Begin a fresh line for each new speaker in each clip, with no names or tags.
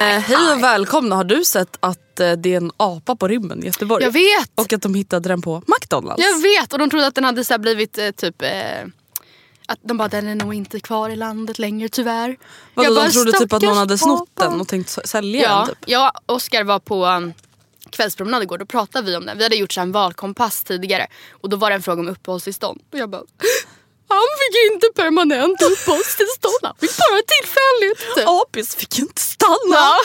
Eh, hej och välkomna. Har du sett att eh, det är en apa på rymmen i Göteborg?
Jag vet!
Och att de hittade den på McDonalds.
Jag vet! Och de trodde att den hade så här blivit eh, typ... Eh, att de bara, den är nog inte kvar i landet längre tyvärr.
Vadå,
Jag bara,
de trodde typ att någon
stackars
hade snott
apa.
den och tänkt s- sälja
Ja,
den. Typ.
jag och Oskar var på um, kvällspromenad igår, då pratade vi om den. Vi hade gjort så här en valkompass tidigare och då var det en fråga om uppehållstillstånd. Och jag bara, han fick inte permanent uppehållstillstånd, han fick bara tillfälligt. typ.
Apis fick inte stanna.
Ja.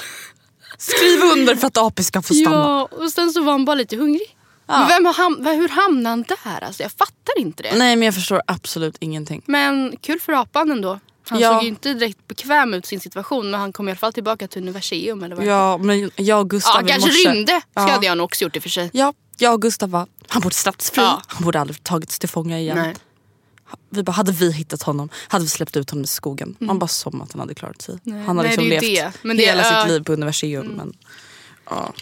Skriv under för att Apis ska få stanna.
Ja, och sen så var han bara lite hungrig. Men vem har ham- vem- hur hamnade han där? Alltså, jag fattar inte det.
Nej men jag förstår absolut ingenting.
Men kul för apan ändå. Han
Ja.
såg ju inte direkt bekväm ut i sin situation men han kom i alla fall tillbaka till universum eller vad det
Ja, men jag och
ja,
Gustav i
kanske
morse-
rymde. Ska
Ja.
hade jag nog också gjort i och för sig.
Ja, jag och Gustav var, han borde släppts fri.
Ja.
Han borde aldrig tagits till fånga igen.
Nej.
Vi bara, hade vi hittat honom hade vi släppt ut honom i skogen. Man bara som att han hade klarat sig. Han har
Mm.
liksom
Nej, det är ju
levt
det. Men det-
hela
ja. Mm.
sitt liv på universum. Men, ja.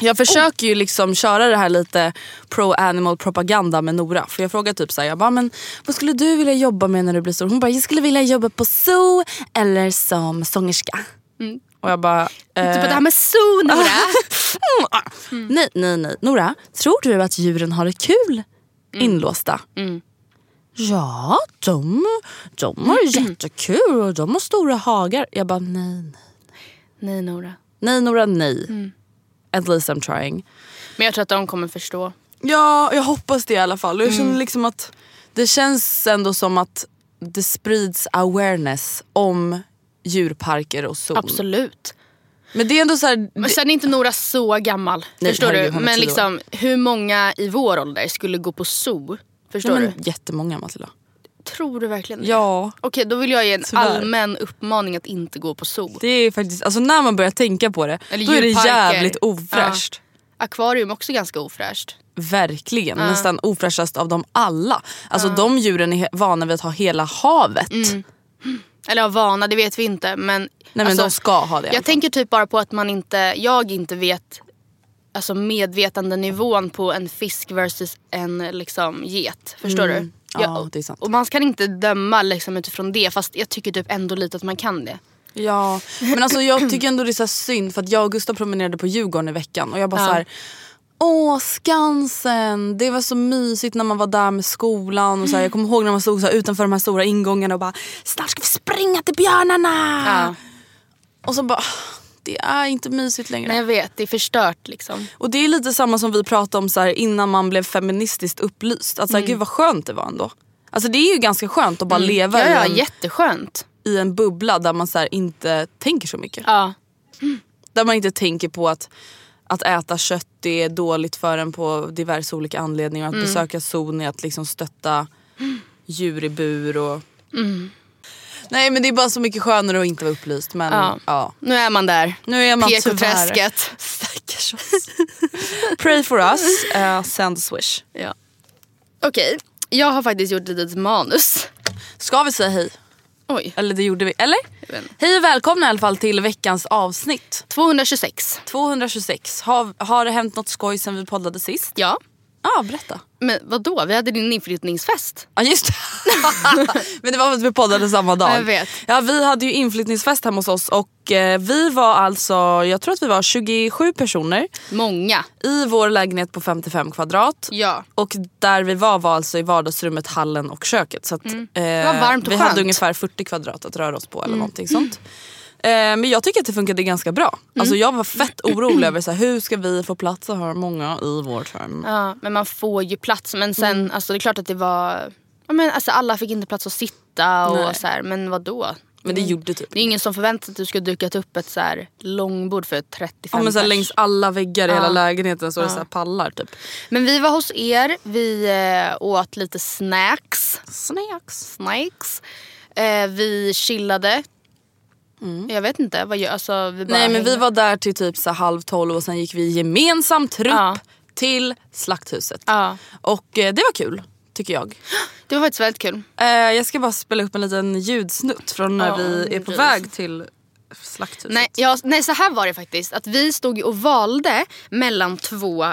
Jag försöker ju liksom köra det här lite pro animal propaganda med Nora. För jag frågar typ så här, jag bara, men vad skulle du vilja jobba med när du blir stor? Hon bara, jag skulle vilja jobba på zoo eller som sångerska.
Mm.
Och jag bara,
Typ
eh,
att det här med zoo Nora. Mm.
Nej, nej, nej. Nora, tror du att djuren har det kul
Mm.
inlåsta? Ja, de, de har
Mm.
jättekul och de har stora hagar. Jag bara, nej, nej.
Nej Nora.
Nej, Nora, nej.
Mm.
At least I'm trying.
Men jag tror att de kommer förstå.
Ja, jag hoppas det i alla fall. Och jag
Mm.
känner liksom att det känns ändå som att det sprids awareness om djurparker och zoo.
Absolut.
Men det är ändå så här...
Men sen är inte Nora så gammal.
Nej,
förstår
herregud, hon
du?
är
Men
tio år.
liksom hur många i vår ålder skulle gå på zoo? Förstår
nej,
du?
men, jättemånga Matilda.
Tror du verkligen det?
Ja.
Okej då vill jag ge en
Tyvärr.
allmän uppmaning att inte gå på zoo.
Det är faktiskt, alltså när man börjar tänka på det,
Eller
då är det
djurparker.
jävligt ofräscht.
Akvarium också ganska ofräscht.
Verkligen. Nästan ofräschast av dem alla. Alltså de djuren är he- vana vid att ha hela havet.
Mm. Eller ja, vana, det vet vi inte. Men, alltså,
men de ska ha det i alla fall.
Jag tänker typ bara på att man inte, jag inte vet alltså medvetandenivån på en fisk versus en liksom, get. Förstår du?
Mm. Ja, det är sant.
Och man kan inte döma liksom, utifrån det fast jag tycker typ ändå lite att man kan det.
Ja. Men alltså jag tycker ändå det är så här synd för att jag och Gustav promenerade på Djurgården i veckan och jag bara
Ja.
så här. Åh Skansen, det var så mysigt när man var där med skolan. Och så här, jag kommer ihåg när man stod så här utanför de här stora ingångarna och bara snart ska vi springa till björnarna.
Ja.
Och så bara, det är inte mysigt längre.
Men jag vet, det är förstört liksom.
Och det är lite samma som vi pratade om så här, innan man blev feministiskt
Mm.
upplyst. Att så här, gud vad skönt det var ändå. Alltså det är ju ganska skönt att bara leva
Ja, ja,
i en...
jätteskönt.
i en bubbla där man så här inte tänker så mycket.
Ja.
Där man inte tänker på att, att äta kött det är dåligt för en på diverse olika anledningar.
Mm.
Att besöka zon är att liksom stötta djur i bur och...
Mm.
Nej men det är bara så mycket skönare att inte vara upplyst. Men
Ja.
ja.
Nu är man där.
Nu är man tyvärr...
PK-träsket.
Stackars oss. Pray for us, eh, send swish.
Ja. Okej, jag har faktiskt gjort ett litet manus.
Ska vi säga hej?
Oj,
Eller det gjorde vi. Eller?
Jag vet inte.
Hej och välkomna i alla fall till veckans avsnitt.
226.
226. Har, har det hänt något skoj sen vi poddade sist?
Ja,
Ja, berätta.
men vad då? Vi hade din inflyttningsfest.
Ja just det. Men det var för att vi poddade samma dag.
Ja, jag vet.
Ja, vi hade ju inflyttningsfest hemma hos oss och eh, vi var alltså, jag tror att vi var 27 personer
Många.
i vår lägenhet på 55 kvadrat.
Ja.
Och där vi var var alltså i vardagsrummet, hallen och köket. Så att, eh,
Det var varmt och
Vi
skönt.
hade ungefär 40 kvadrat att röra oss på eller någonting sånt. Eh, Men jag tycker att det funkade ganska bra. Alltså jag var fett orolig över så här, hur ska vi få plats så här många i vårt hem.
ja. Men man får ju plats. Men sen,
Mm.
alltså det är klart att det var... Ja, men alltså alla fick inte plats att sitta och
Nej.
så här, men vad då?
Men det gjorde typ
Det är ingen som förväntar sig att du ska duka upp ett så här långbord för 35
Ja, men så här,
pers.
längs alla väggar i hela lägenheten så är det så här pallar typ.
Men vi var hos er, vi eh, åt lite snacks.
Snacks.
Snacks. Eh, vi chillade. Jag vet inte, vad gör, alltså, vi bara
Mm. Nej men vi
hängde.
var där till typ så här halv tolv och sen gick vi gemensamt trupp
Ja.
till Slakthuset.
Ja.
Och eh, det var kul tycker jag.
Det var faktiskt väldigt kul.
Eh, jag ska bara spela upp en liten ljudsnutt från när
Ja,
vi är på
precis.
väg till Slakthuset.
Nej, ja, nej, så här var det faktiskt. Att vi stod ju och valde mellan två eh,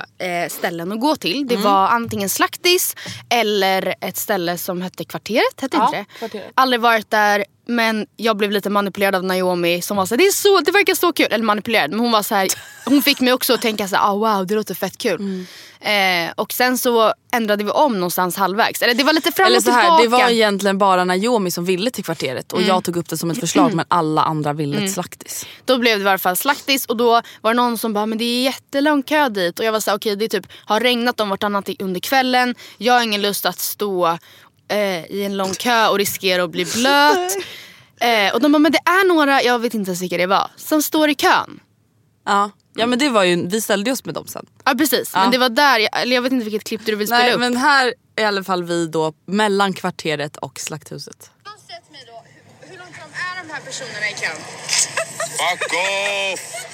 ställen att gå till.
Mm.
Det var antingen Slaktis eller ett ställe som hette Kvarteret. Hette
Ja,
inte det?
Kvarteret.
Aldrig varit där, men jag blev lite manipulerad av Naomi som var så här, det, är så, det verkar så kul. Eller manipulerad, men hon var så här, hon fick mig också att tänka så här, ah wow, det låter fett
Mm.
kul. Eh, och sen så ändrade vi om någonstans halvvägs. Eller det var lite fram
Eller
och
så här,
tillbaka. Mm.
det var egentligen bara Naomi som ville till kvarteret och jag tog upp det som ett förslag men alla andra ville till Slaktis.
Då blev det i alla fall slaktis och då var det någon som bara men det är jättelång kö dit och jag var så här, okej det är typ har regnat om vartannat i- under kvällen. Jag har ingen lust att stå eh, i en lång kö och riskera att bli blöt. Eh, och de bara men det är några, jag vet inte ens vilka det var, som står i kön.
Ja. ja men det var ju, vi ställde oss med dem sen.
Ja precis, men det var där, jag, eller jag vet inte vilket klipp du vill spela
Nej
upp.
men här är i alla fall vi då mellan kvarteret och Slakthuset.
Sett mig då, hur, hur långt fram är de här personerna i kön?
Fuck off!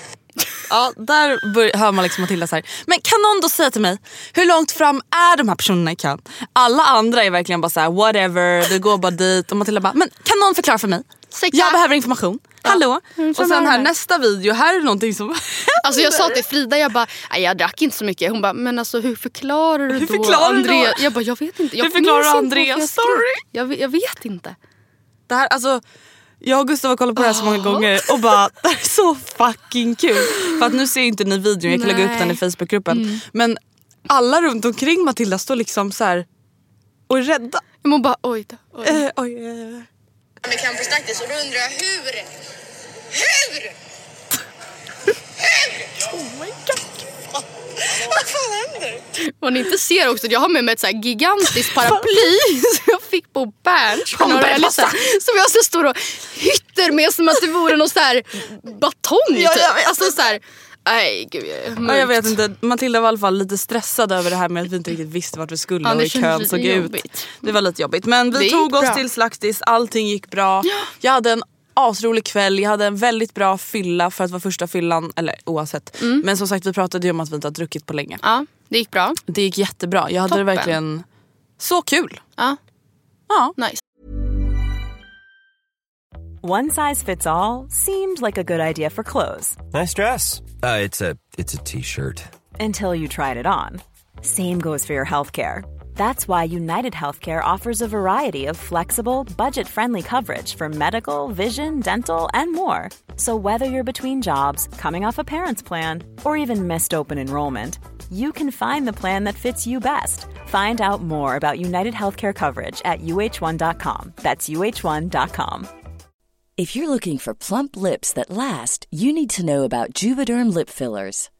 Ja, där bör- hör man liksom Matilda så här. Men kan någon då säga till mig, hur långt fram är de här personerna i kön? Alla andra är verkligen bara så här, whatever, du går bara dit. Och Matilda bara, men kan någon förklara för mig?
Ursäkta?
Jag behöver information. Hallå? Och
fram
sen
med
här
det.
nästa video, här är någonting som
Alltså jag sa till Frida, jag bara, "Nej, jag drack inte så mycket. Hon bara, men alltså hur förklarar du då
förklarar du då?
Andreas? Jag bara, jag vet inte. Jag
Hur förklarar
minns
du
inte varför
Andreas
jag skrev.
story?
Jag, ve- jag vet inte.
Det här, alltså, jag och Gustav har kollat på det här så många gånger och bara det här är så fucking kul. För att nu ser ju inte ni videon, jag kan lägga upp den i
Nej.
Facebookgruppen. Men alla runt omkring Matilda står liksom så här och är rädda.
Men hon bara, oj då. Oj. då."
Eh, oj, oj, oj.
De är i kön på Slaktis och då undrar jag hur? Hur? Hur? Oh my god. Vad fan händer?
Vad ni inte ser också, jag har med mig ett så här gigantiskt paraply som jag fick på Berns. för några helger sedan. Som jag så står och hytter med som att det vore någon så här batong.
Ja, jag
typ.
vet.
Alltså så här, nej gud jag är
Ja, jag
mörkt.
vet inte. Matilda var i alla fall lite stressad över det här med att vi inte riktigt visste vart vi skulle
Ja, det
och i
kändes
kön
lite
såg ut.
jobbigt.
Det var lite jobbigt. Men
Det
vi
gick
tog oss
bra.
till Slaktis, allting gick bra. Jag hade en asrolig kväll, jag hade en väldigt bra fylla för att vara första fyllan. Eller oavsett.
Mm.
Men som sagt vi pratade ju om att vi inte har druckit på länge.
Ja, det gick bra.
Det gick jättebra. Jag hade
Toppen.
det verkligen så kul.
Ja,
Ja.
nice.
One size fits all seemed like a good idea for clothes
Nice dress. Uh, it's a it's a t-shirt.
until you tried it on. Same goes for your healthcare. That's why United Healthcare offers a variety of flexible, budget friendly coverage for medical, vision, dental, and more. So, whether you're between jobs, coming off a parent's plan, or even missed open enrollment, you can find the plan that fits you best. Find out more about United Healthcare coverage at uh1.com. That's uh1.com.
If you're looking for plump lips that last, you need to know about Juvederm lip fillers.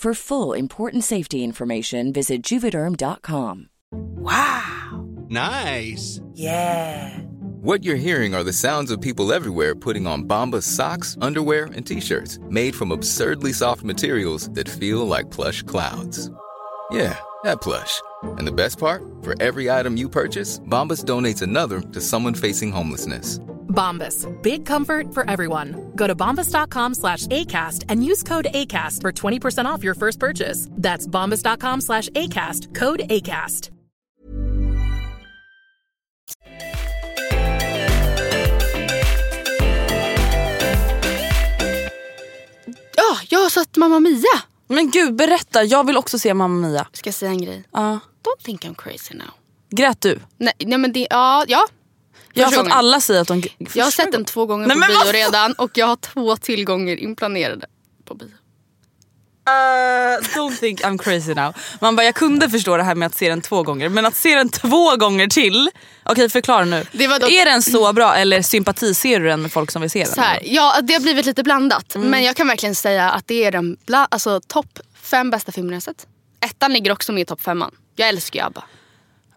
For full important safety information, visit juvederm.com.
Nice. Yeah. What you're hearing are the sounds of people everywhere putting on Bombas socks, underwear, and t-shirts made from absurdly soft materials that feel like plush clouds. Yeah, that plush. And the best part? For every item you purchase, Bombas donates another to someone facing homelessness.
Bombas. Big comfort for everyone. Go to bombas.com slash ACAST and use code ACAST for 20% off your first purchase. That's bombas.com slash ACAST. Code ACAST.
Ja, jag har sett Mamma Mia.
Men gud, berätta. Jag vill också se Mamma Mia.
Ska jag säga en grej?
Ja.
Don't think I'm crazy now.
Grät du?
Nej, nej men det, ja, ja.
Jag har
Första
fått
gången.
alla säga att de... gr-
Jag har
första
sett den
gången.
två gånger
Nej,
på
men alltså! vad
bio
fan?
redan och jag har två tillgånger inplanerade på bio.
Eh, don't think I'm crazy now. Man bara, jag kunde förstå det här med att se den två gånger, men att se den två gånger till. Okej, förklara nu.
Det var dock-
Är den så bra eller sympatiserar du den med folk som vill se den?
Så här, ja, det har blivit lite blandat.
Mm.
Men jag kan verkligen säga att det är den bla, alltså, topp fem bästa filmerna jag sett. Ettan ligger också med i topp femman. Jag älskar ju ABBA.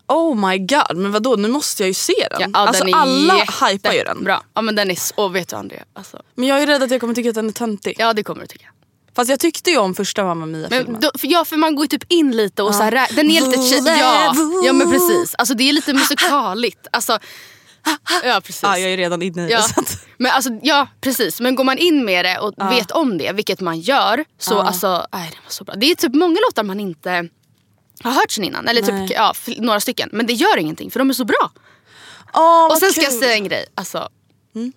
Oh my god, men vadå nu måste jag ju se den.
Ja,
alltså
den är
alla
jätte-
hypar ju den.
Bra. Ja, men den är så, vet du Andrea. Alltså,
Men jag är rädd att jag kommer tycka att den är töntig.
ja det kommer du tycka.
Fast jag tyckte ju om första Mamma
Men
Mia-filmen.
då, för, ja för man går ju typ in lite och så här, rä- den är lite tje- ja, ja men precis. Alltså det är lite musikaligt. Alltså, ja precis.
Ja, jag är redan inne i det.
Ja.
Så att,
Men alltså, ja, precis. Men går man in med det och vet om det, vilket man gör, så alltså, aj, det var så bra. Det är typ många låtar man inte har hört sen innan. Eller
Nej.
typ, ja, fl- några stycken. Men det gör ingenting för de är så bra.
Åh,
och
vad
sen ska jag
kul. Mm.
säga en grej. Alltså,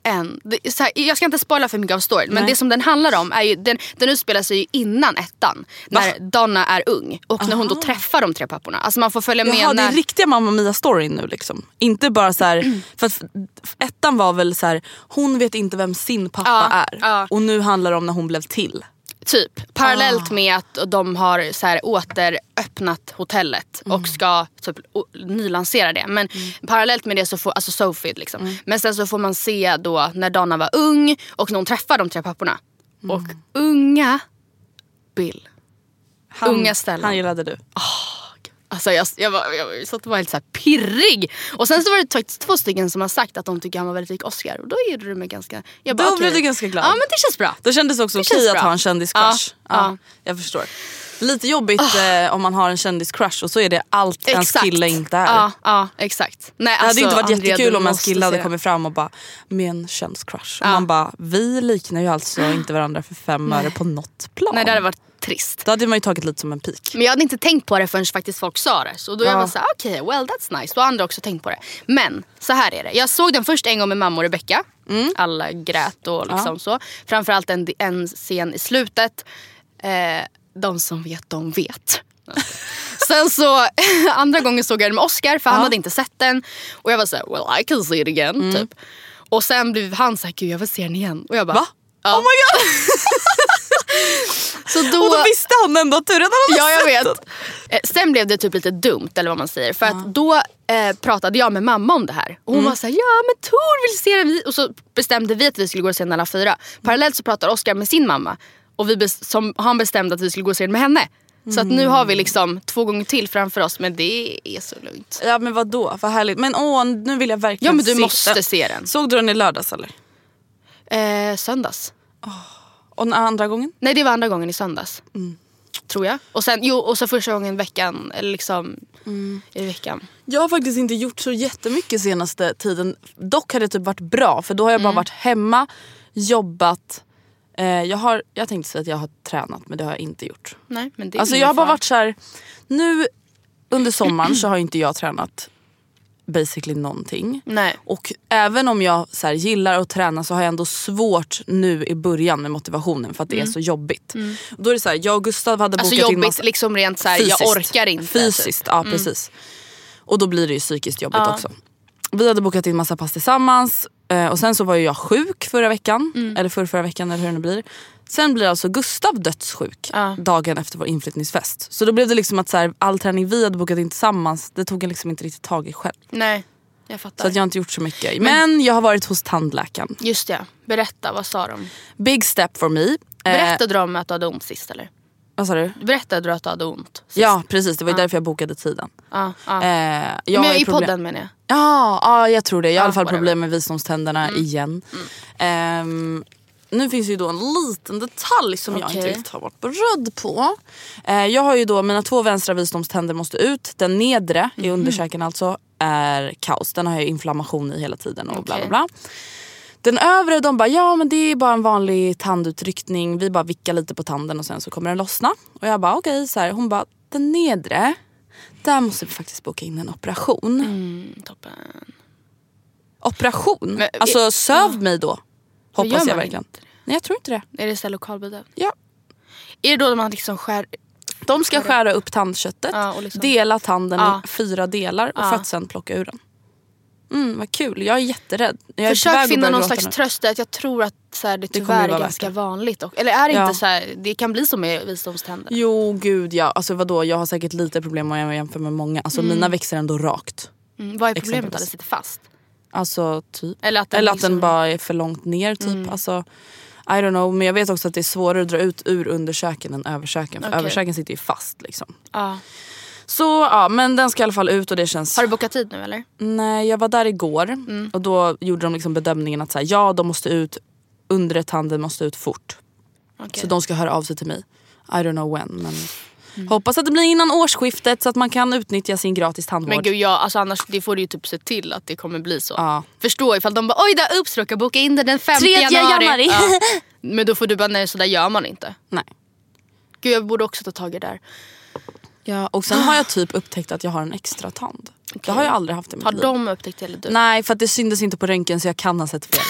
en, det, är så här, jag ska inte spoila för mycket av storyn men det som den handlar om är ju, den, den utspelar sig ju innan ettan. När Donna är ung och när hon då träffar de tre papporna. Alltså man får följa
Jaha,
med
det
när...
är riktiga Mamma Mia-storyn nu liksom. Inte bara så
Mm.
här, för att f- ettan var väl så här, hon vet inte vem sin pappa
Ja,
är.
ja.
Och nu handlar det om när hon blev till.
Typ.
Ah.
Parallellt med att de har så här, återöppnat hotellet
Mm.
och ska typ, o- nylansera det. Men parallellt med det så får, alltså Sophie liksom.
Mm.
Men sen så får man se då när Donna var ung och när hon träffar de tre papporna.
Mm.
Och unga Bill.
Han,
Unga Stellan.
Han gillade du.
Alltså jag, jag, var, jag, var- satt och var helt så här pirrig. Och sen så var det faktiskt två stycken som har sagt att de tycker han var väldigt lik Oscar. Och då gjorde du mig ganska... Jag
Då
okej.
blev du ganska glad.
Ja men det känns bra.
Det kändes också
Det
okej
känns
att
bra.
ha en kändiscrush.
Ja, ja. Ah.
Jag förstår. Lite jobbigt eh, om man har en kändiscrush och så är det allt ens kille inte är.
Ja, ja exakt. Nej, alltså,
Det hade ju inte varit
Andrea,
jättekul
du
om en
måste
kille hade
se det.
kommit fram och bara med en könscrush. Och man bara vi liknar ju alltså inte varandra för fem öre på något plan.
Ah. Nej det hade varit trist.
Då hade man ju tagit lite som en pik.
Men jag hade inte tänkt på det förrän faktiskt folk sa det. Så då jag var så här, okej, well that's nice. Då har andra också tänkt på det. Men så här är det. Jag såg den först en gång med mamma och Rebecca.
Mm.
Alla grät och liksom så. Framförallt en, en scen i slutet. Eh, de som vet, de vet. Sen så andra gången såg jag den med Oscar för han hade inte sett den. Och jag var så här, well I can see it again.
Mm.
Typ. Och sen blev han så här, gud jag vill se den igen. Och jag bara,
Va?
Ja.
Oh my god!
Så då,
Och då visste han ändå att du redan hade
Ja jag
sett
vet.
den.
Eh, Sen blev det typ lite dumt eller vad man säger. För att då eh, pratade jag med mamma om det här. Och hon
Mm.
var såhär, ja men Tor vill se den. Vi-" Och så bestämde vi att vi skulle gå och se den alla fyra. Parallellt så pratade Oscar med sin mamma. Och vi bes- som, han bestämde att vi skulle gå och se den med henne. Så att nu har
Mm.
vi liksom två gånger till framför oss. Men det är så lugnt.
Ja men vadå, vad härligt. Men åh nu vill jag verkligen
Ja men du
se
måste
den.
se den.
Såg du den i lördags eller?
Eh, söndags.
Och den andra gången? Mm.
Nej det var andra gången i söndags. Tror jag. Och sen, jo, och sen första gången veckan, eller liksom
Mm.
i veckan.
Jag har faktiskt inte gjort så jättemycket senaste tiden. Dock har det typ varit bra för då har jag bara varit hemma, jobbat. Eh, jag, har, jag tänkte säga att jag har tränat men det har jag inte gjort.
Nej, men det är
Alltså
ingen
jag har bara
fara.
varit så här. nu under sommaren så har inte jag tränat basically någonting.
Nej.
Och även om jag så här, gillar att träna så har jag ändå svårt nu i början med motivationen för att det är
Mm.
så jobbigt.
Mm.
Då är det så här, jag och Gustav hade
Alltså
bokat in
jobbigt
massa...
liksom rent såhär, jag orkar inte.
Fysiskt,
typ.
ja
Mm.
precis. Och då blir det ju psykiskt jobbigt
Ja.
också. Vi hade bokat in massa pass tillsammans eh, och sen så var ju jag sjuk förra veckan.
Mm.
Eller förra, förra veckan eller hur det nu blir. Sen blir alltså Gustav dödssjuk dagen efter vår inflyttningsfest. Så då blev det liksom att så här, all träning vi hade bokat in tillsammans det tog jag liksom inte riktigt tag i själv.
Typ. Nej, jag fattar.
Så att jag har inte gjort så mycket. Men jag har varit hos tandläkaren.
Just det, berätta vad sa
Eh.
de?
Big step for me. Eh,
Berättade de att du hade ont sist eller?
Vad sa du?
Berättade du att du hade ont?
Ja precis, det var ju
Ja.
därför jag bokade tiden.
Ja, ja.
Eh, jag har
men,
ju
I
problem-
podden menar jag.
Ja, ja jag tror det. Jag har i alla fall problem med visdomständerna
Mm.
igen. Ehm, nu finns ju då en liten detalj som jag inte
Okej.
riktigt har varit beredd på. Eh, jag har ju då, mina två vänstra visdomständer måste ut. Den nedre
Mhm.
i underkäken alltså är kaos. Den har jag ju inflammation i hela tiden och bla bla
Okej.
bla. Den övre de bara ja men det är bara en vanlig tandutryckning. Vi bara vickar lite på tanden och sen så kommer den lossna. Och jag bara okej. så här. Hon bara den nedre. Där måste vi faktiskt boka in en operation.
Mm, toppen.
Operation?
Men- eh,
alltså söv mig då.
gör
Hoppas jag
man
verkligen. Nej jag tror inte det.
Är det så här lokalbedövning?
Ja.
Är det då man liksom skär...
De ska skära upp tandköttet,
Ja, och liksom-
dela tanden
Ja.
i fyra delar och
Ja.
för att sen plocka ur den. Mm, vad kul, jag är jätterädd. Jag är på väg
Försök
att
finna
börja
någon
gråta
slags
nu.
tröst där. att Jag tror att så här, det
kommer
tyvärr
ju vara värt
är ganska vanligt. Och, eller är det
Ja.
inte så här, det kan bli som med visdomständer.
Jo gud ja, alltså vadå jag har säkert lite problem om jag jämför med många. Alltså
Mm.
mina växer ändå rakt.
Mm, vad är problemet?
Exempelvis.
Att det sitter fast?
Alltså typ.
Eller att den
Eller att den
liksom- Mm.
bara är för långt ner typ. Alltså, I don't know men jag vet också att det är svårare att dra ut ur underkäken än överkäken. För
Okej.
överkäken sitter ju fast liksom.
Ja.
Så ja, men den ska i alla fall ut och det känns...
Har du Mm. bokat tid nu eller?
Nej, jag var där igår och då gjorde de liksom bedömningen att så här, ja, de måste ut, undre tanden måste ut fort.
Okej. Mm.
Så de ska höra av sig till mig. I don't know when men hoppas att det blir innan årsskiftet så att man kan utnyttja sin gratis tandvård.
Men gud ja, alltså annars det får du ju typ se till att det kommer bli så.
Ja.
Förstå ifall de bara oj där oops råkar boka in den den 5
Tredje
januari.
januari.
Ja. Men då får du bara nej sådär gör man inte.
Nej.
Gud jag borde också ta tag i det där.
Ja, och sen har jag typ upptäckt att jag har en extra tand. Det har jag aldrig haft i mitt
Har
liv.
de upptäckt det eller du?
Nej, för att det syntes inte på röntgen så jag kan ha sett fel.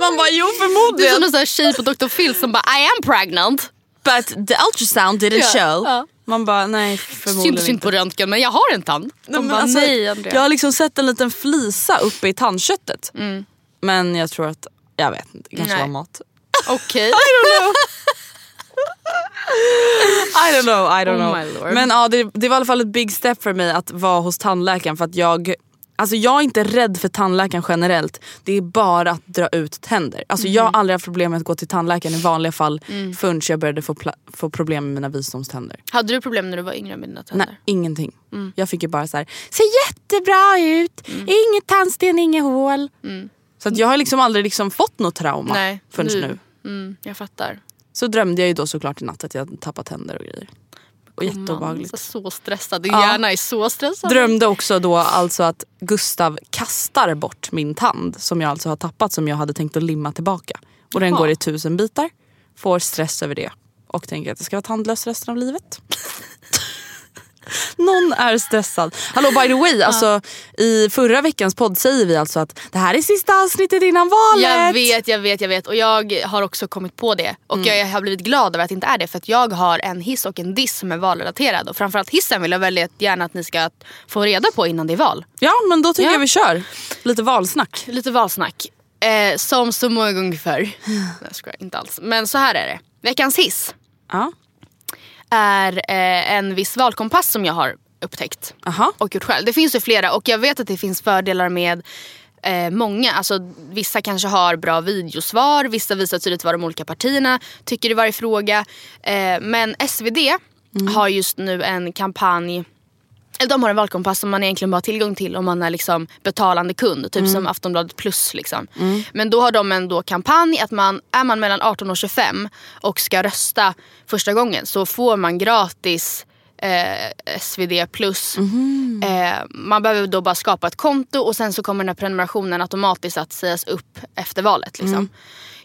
Man bara jo
Du är som
förmodligen.
någon sån här tjej på Dr. Phil som bara I am pregnant.
But the ultrasound didn't
Ja,
show.
ja.
Man bara nej
Syns
förmodligen
inte på röntgen men jag har en tand. De
men
bara,
alltså,
nej Andrea.
Jag har liksom sett en liten flisa uppe i tandköttet. Men jag tror att, jag vet inte, det kanske
Mm. Nej.
var mat.
Okej.
I don't know, I don't
Oh my
know.
lord.
Men ja, det, det var i alla fall ett big step för mig att vara hos tandläkaren för att jag Alltså jag är inte rädd för tandläkaren generellt. Det är bara att dra ut tänder. Alltså Jag
Mm.
har aldrig haft problem med att gå till tandläkaren i vanliga fall förrän jag började få, pla- få problem med mina visdomständer.
Hade du problem när du var yngre med dina tänder?
Nej, ingenting.
Mm.
Jag fick ju bara så här, ser jättebra ut, inget tandsten, inget hål. Så att jag har liksom aldrig liksom fått något trauma
Mm. Nej,
förrän nu.
nu. Mm, jag fattar.
Så drömde jag ju då såklart i natt att jag tappat tänder och grejer. Och jätteobehagligt.
Man är så stressad. Din
Ja.
hjärna är så stressad.
Drömde också då alltså att Gustav kastar bort min tand som jag alltså har tappat som jag hade tänkt att limma tillbaka. Och den
Jaha.
går i tusen bitar. Får stress över det. Och tänker att jag ska vara tandlös resten av livet. Någon är stressad. Hallå by the way, alltså, i förra veckans podd säger vi alltså att det här är sista avsnittet innan valet.
Jag vet, jag vet, jag vet. Och jag har också kommit på det. Och jag har blivit glad över att det inte är det. För att jag har en hiss och en diss som är valrelaterad. Och framförallt hissen vill jag väldigt gärna att ni ska få reda på innan det är val.
Ja men då tycker
Ja.
jag vi kör. Lite valsnack.
Lite valsnack. Eh, som så många gånger förr. Nej jag skojar, inte alls. Men så här är det. Veckans hiss
Ja.
är eh, en viss valkompass som jag har upptäckt.
Aha.
och gjort själv. Det finns ju flera och jag vet att det finns fördelar med eh, många. Alltså, vissa kanske har bra videosvar, vissa visar tydligt vad de olika partierna tycker i varje
Mm.
fråga. Eh, men SvD har just nu en kampanj Eller de har en valkompass som man egentligen bara har tillgång till om man är liksom betalande kund. Typ
Mm.
som Aftonbladet plus. Liksom.
Mm.
Men då har de en då kampanj att man, är man mellan 18 och 25 och ska rösta första gången så får man gratis eh, SvD plus.
Mhm.
Eh, man behöver då bara skapa ett konto och sen så kommer den här prenumerationen automatiskt att sägas upp efter valet. Liksom.
Mm.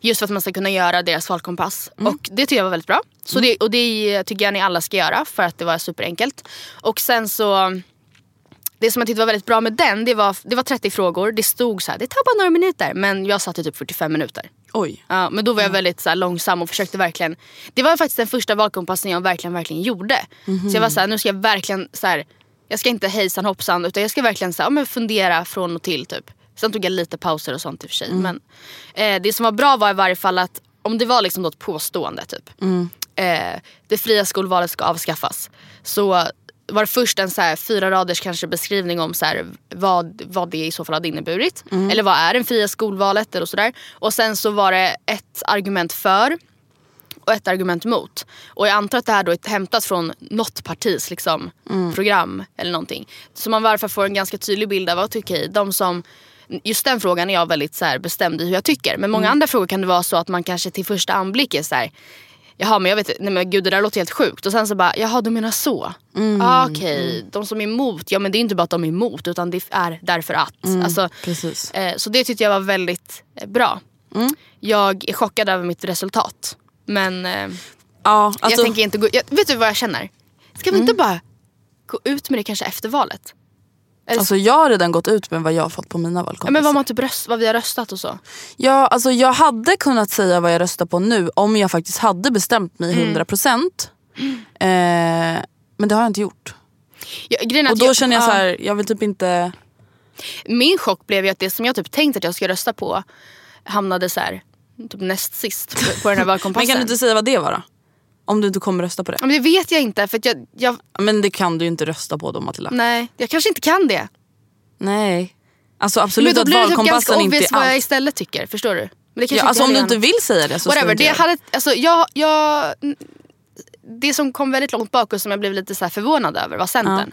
Just för att man ska kunna göra deras valkompass. Och det tycker jag var väldigt bra. Så det, och det tycker jag ni alla ska göra för att det var superenkelt. Och sen så det som jag tyckte var väldigt bra med den, det var, det var 30 frågor. Det stod så här, det tar bara några minuter. Men jag satt i typ 45 minuter.
Oj.
Ja, men då var jag väldigt så här, långsam och försökte verkligen. Det var faktiskt den första valkompassen jag verkligen, verkligen gjorde.
Mhm.
Så jag var så här, nu ska jag verkligen så här, jag ska inte hejsan hoppsan utan jag ska verkligen så här, ja, men fundera från och till typ. Sen tog jag lite pauser och sånt i och för sig.
Mm.
Men eh, det som var bra var i varje fall att om det var liksom då ett påstående typ
Mm.
eh, det fria skolvalet ska avskaffas. Så var det först en så här fyra raders kanske beskrivning om så här, vad, vad det i så fall hade inneburit.
Mm.
Eller vad är det fria skolvalet eller sådär. Och sen så var det ett argument för och ett argument mot. Och jag antar att det här då är hämtat från något partis liksom,
Mm.
program eller någonting. Så man i alla fall får en ganska tydlig bild av att okej, de som Just den frågan är jag väldigt så här bestämd i hur jag tycker. Men många
Mm.
andra frågor kan det vara så att man kanske till första anblick är så här, Jaha men jag vet nej men gud det där låter helt sjukt. Och sen så bara, jaha du menar så.
Mm,
Ah, Okej, de som är emot, ja men det är inte bara att de är emot utan det är därför att.
Mm,
Alltså,
precis.
eh, så det tyckte jag var väldigt eh, bra. Jag är chockad över mitt resultat. Men eh, jag
alltså- Mm.
tänker inte gå, jag, vet du vad jag känner? Ska vi inte bara gå ut med det kanske efter valet? Eller-
Alltså jag har redan gått ut med vad jag har fått på mina
ja,
valkompassar.
men vad, man typ röst, vad vi har röstat och så.
Ja, alltså jag hade kunnat säga vad jag röstar på nu om jag faktiskt hade bestämt mig
Mm.
100%. Eh, men det har jag inte gjort.
Ja, grejen är
och
att
då känner jag så
ja.
här, jag vill typ inte...
Min chock blev ju att det som jag typ tänkt att jag ska rösta på hamnade så här, typ näst sist på, på den här valkompassen.
Men kan du inte säga vad det var då? Om du inte kommer rösta på det.
Men det vet jag inte. För att jag, jag...
Men det kan du ju inte rösta på då Matilda.
Nej, jag kanske inte kan det.
Nej. Alltså absolut
men då
att
blir det typ ganska
valkompassen inte
obvious
är
vad jag
allt.
istället tycker. Förstår du? Men det kanske
Ja, alltså,
hade
om du
jag-
inte vill säga det så ska du
Whatever.
inte
Det,
göra
hade, alltså, jag, jag, det som kom väldigt långt bak och som jag blev lite så här förvånad över var Centern.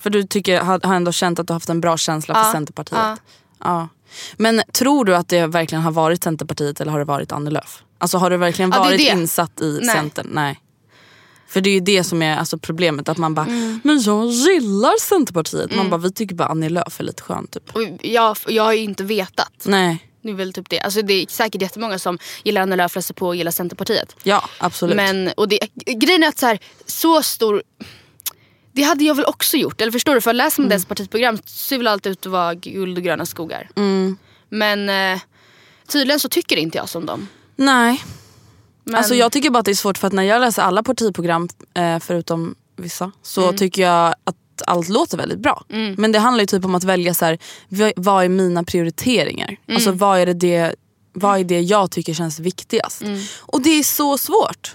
För du tycker, har, har ändå känt att du har haft en bra känsla för
Ja,
Centerpartiet.
ja.
Ja. Men tror du att det verkligen har varit Centerpartiet eller har det varit Annie Lööf? Alltså har du verkligen
Ja, det är
varit
det.
insatt i
Nej.
Centern? Nej. För det är ju det som är alltså, problemet. Att man bara,
Mm.
men jag gillar Centerpartiet. Man
Mm.
bara, vi tycker bara Annie Lööf är lite skön typ.
Och jag, jag har ju inte vetat.
Nej,
Det är väl typ det. Alltså, det är säkert jättemånga som gillar Annie Lööf, läser på och gillar Centerpartiet.
ja absolut.
Men, och det, grejen är att så, här, så stor... Det hade jag väl också gjort. Eller förstår du? För läser
Mm.
man deras partiprogram ser väl allt ut att vara guld och gröna skogar.
Mm.
Men eh, tydligen så tycker inte jag som dem.
Nej.
Men-
Alltså jag tycker bara att det är svårt för att när jag läser alla partiprogram eh, förutom vissa så
Mm.
tycker jag att allt låter väldigt bra.
Mm.
Men det handlar ju typ om att välja så här, v- vad är mina prioriteringar?
Mm.
Alltså vad är, det det, vad är det jag tycker känns viktigast?
Mm.
Och det är så svårt.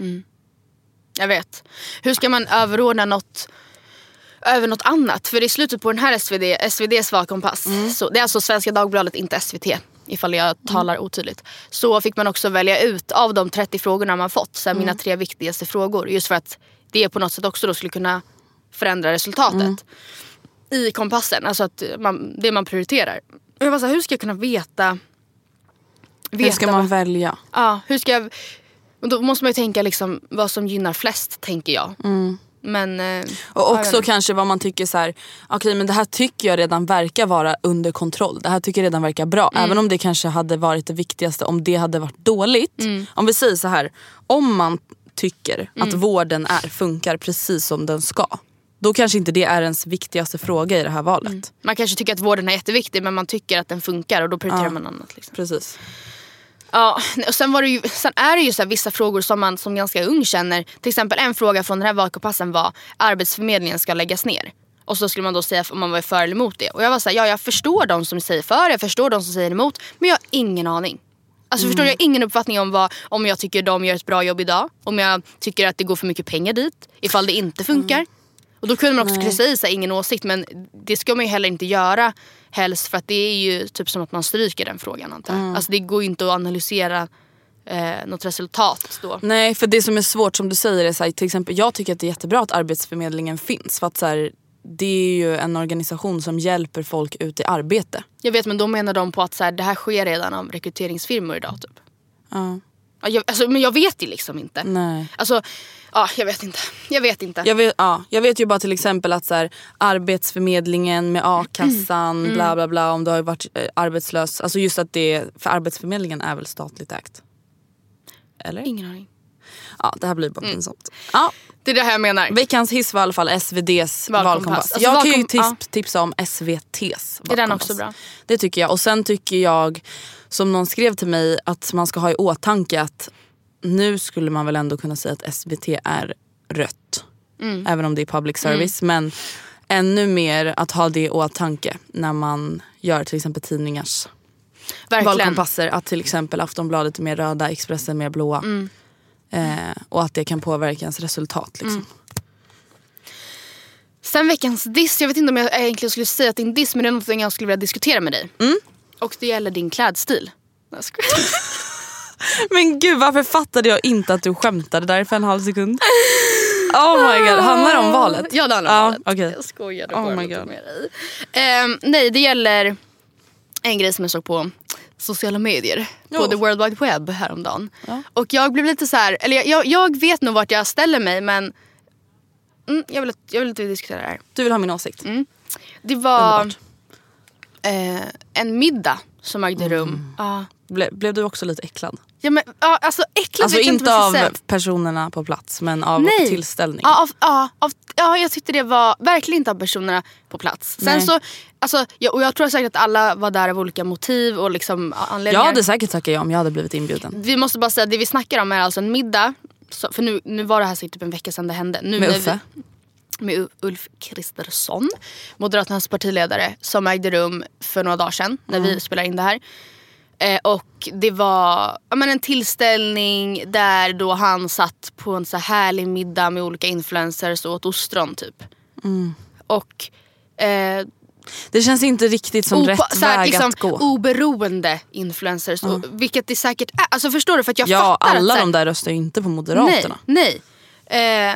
Jag vet. Hur ska man överordna något över något annat? För i slutet på den här SvD, SvDs valkompass,
Mm.
så, det är alltså Svenska Dagbladet, inte SVT ifall jag talar otydligt. Så fick man också välja ut av de 30 frågorna man fått, så här, mina
Mm.
tre viktigaste frågor. Just för att det på något sätt också då skulle kunna förändra resultatet
Mm.
i kompassen. Alltså att man, det man prioriterar. Och jag var så här, hur ska jag kunna veta?
Hur ska
veta
man välja?
Ja, hur ska jag... Och då måste man ju tänka liksom, vad som gynnar flest, tänker jag.
Mm.
Men... eh,
Och
ja, jag
också
vet.
kanske vad man tycker så här, okej men det här tycker jag redan verkar vara under kontroll. Det här tycker jag redan verkar bra.
Mm.
Även om det kanske hade varit det viktigaste om det hade varit dåligt.
Mm.
Om vi säger så här, om man tycker att
Mm.
vården är, funkar precis som den ska. Då kanske inte det är ens viktigaste fråga i det här valet.
Man kanske tycker att vården är jätteviktig men man tycker att den funkar och då prioriterar
Ja.
man annat. Liksom.
Precis.
Ja, och sen, var det ju, sen är det ju så här vissa frågor som man som ganska ung känner. Till exempel en fråga från den här valkompassen var Arbetsförmedlingen ska läggas ner. Och så skulle man då säga om man var för eller emot det. Och jag var så här, ja jag förstår de som säger för, jag förstår de som säger emot. Men jag har ingen aning. Alltså förstår du, jag har ingen uppfattning om vad, om jag tycker de gör ett bra jobb idag. Om jag tycker att det går för mycket pengar dit. Ifall det inte funkar. Och då kunde man också
Nej.
kryssa i sig ingen åsikt. Men det ska man ju heller inte göra. Helst för att det är ju typ som att man stryker den frågan antar jag.
Mm.
Alltså det går ju inte att analysera eh, något resultat då.
Nej, för det som är svårt som du säger är så här, till exempel, jag tycker att det är jättebra att Arbetsförmedlingen finns. För att så här, det är ju en organisation som hjälper folk ut i arbete.
Jag vet men då menar de på att så här, det här sker redan av rekryteringsfirmor idag typ.
Ja.
Ja, Jag, alltså, men jag vet det liksom inte.
Nej.
Alltså, ja, jag vet inte. Jag vet inte.
Jag vet, ja, jag vet ju bara till exempel att så här, Arbetsförmedlingen med a-kassan,
Mm.
bla bla bla, om du har varit eh, arbetslös. Alltså just att det, för Arbetsförmedlingen är väl statligt ägt? Eller?
Ingen aning.
Ja, det här blir
Mm.
bara pinsamt.
Det är det här jag menar.
Veckans hiss var i alla fall SVDs
Valkompass.
valkompass.
Alltså,
jag kan ju
valkom-
tips,
ja.
tipsa om SVTs
Är den
valkompass.
också bra?
Det tycker jag. Och sen tycker jag, som någon skrev till mig, att man ska ha i åtanke att nu skulle man väl ändå kunna säga att SVT är rött.
Mm.
Även om det är public service. Men ännu mer att ha det i åtanke när man gör till exempel tidningars
Verkligen.
valkompasser. Att till exempel Aftonbladet är mer röda, Expressen mer blåa.
Mm.
Eh, och att det kan påverka ens resultat. Liksom.
Mm. Sen veckans diss. Jag vet inte om jag egentligen skulle säga att det är en diss men det är någonting jag skulle vilja diskutera med dig.
Mm.
Och det gäller din klädstil. Jag skojar.
Men gud varför fattade jag inte att du skämtade där för en halv sekund? Oh my god, handlar det om valet?
Ja det handlar om valet.
okej.
Jag skojade
Oh
bara
my
lite
God.
med dig. Ehm, nej det gäller en grej som jag såg på sociala medier. På
Oh.
the world wide web häromdagen. Och jag blev lite så här, eller jag, jag, jag vet nog vart jag ställer mig men mm, jag, vill, att- jag vill inte diskutera det här.
Du vill ha min åsikt?
Mm. Det var
Underbart.
eh, en middag som ägde
Mm.
rum. Ja.
Ble, blev du också lite äcklad?
Ja, men, ja, alltså äckligt
alltså
vet jag
inte
vad jag
av
ska säga.
personerna på plats men av
Nej.
tillställningen.
Ja, av, ja, av, ja, jag tyckte det var verkligen inte av personerna på plats. Sen
Nej.
så, alltså, jag, och jag tror säkert att alla var där av olika motiv och liksom anledningar.
Jag hade säkert tackat ja om jag hade blivit inbjuden.
Vi måste bara säga att det vi snackar om är alltså en middag. Så, för nu, nu var det här säkert typ en vecka sedan det hände. Nu
Med
när
Uffe?
Vi, med U- Ulf Kristersson, Moderaternas partiledare, som ägde rum för några dagar sedan när
Mm.
vi spelar in det här. Eh, och det var ja, men en tillställning där då han satt på en så här härlig middag med olika influencers och åt ostron typ.
Mm.
Och eh,
Det känns inte riktigt som
opa-
rätt
så här,
väg
liksom,
att gå.
Oberoende influencers, och, vilket det säkert är. Alltså förstår du? För att jag
ja,
fattar
alla
att, så här,
de där röstar ju inte på Moderaterna.
Nej, nej. Eh,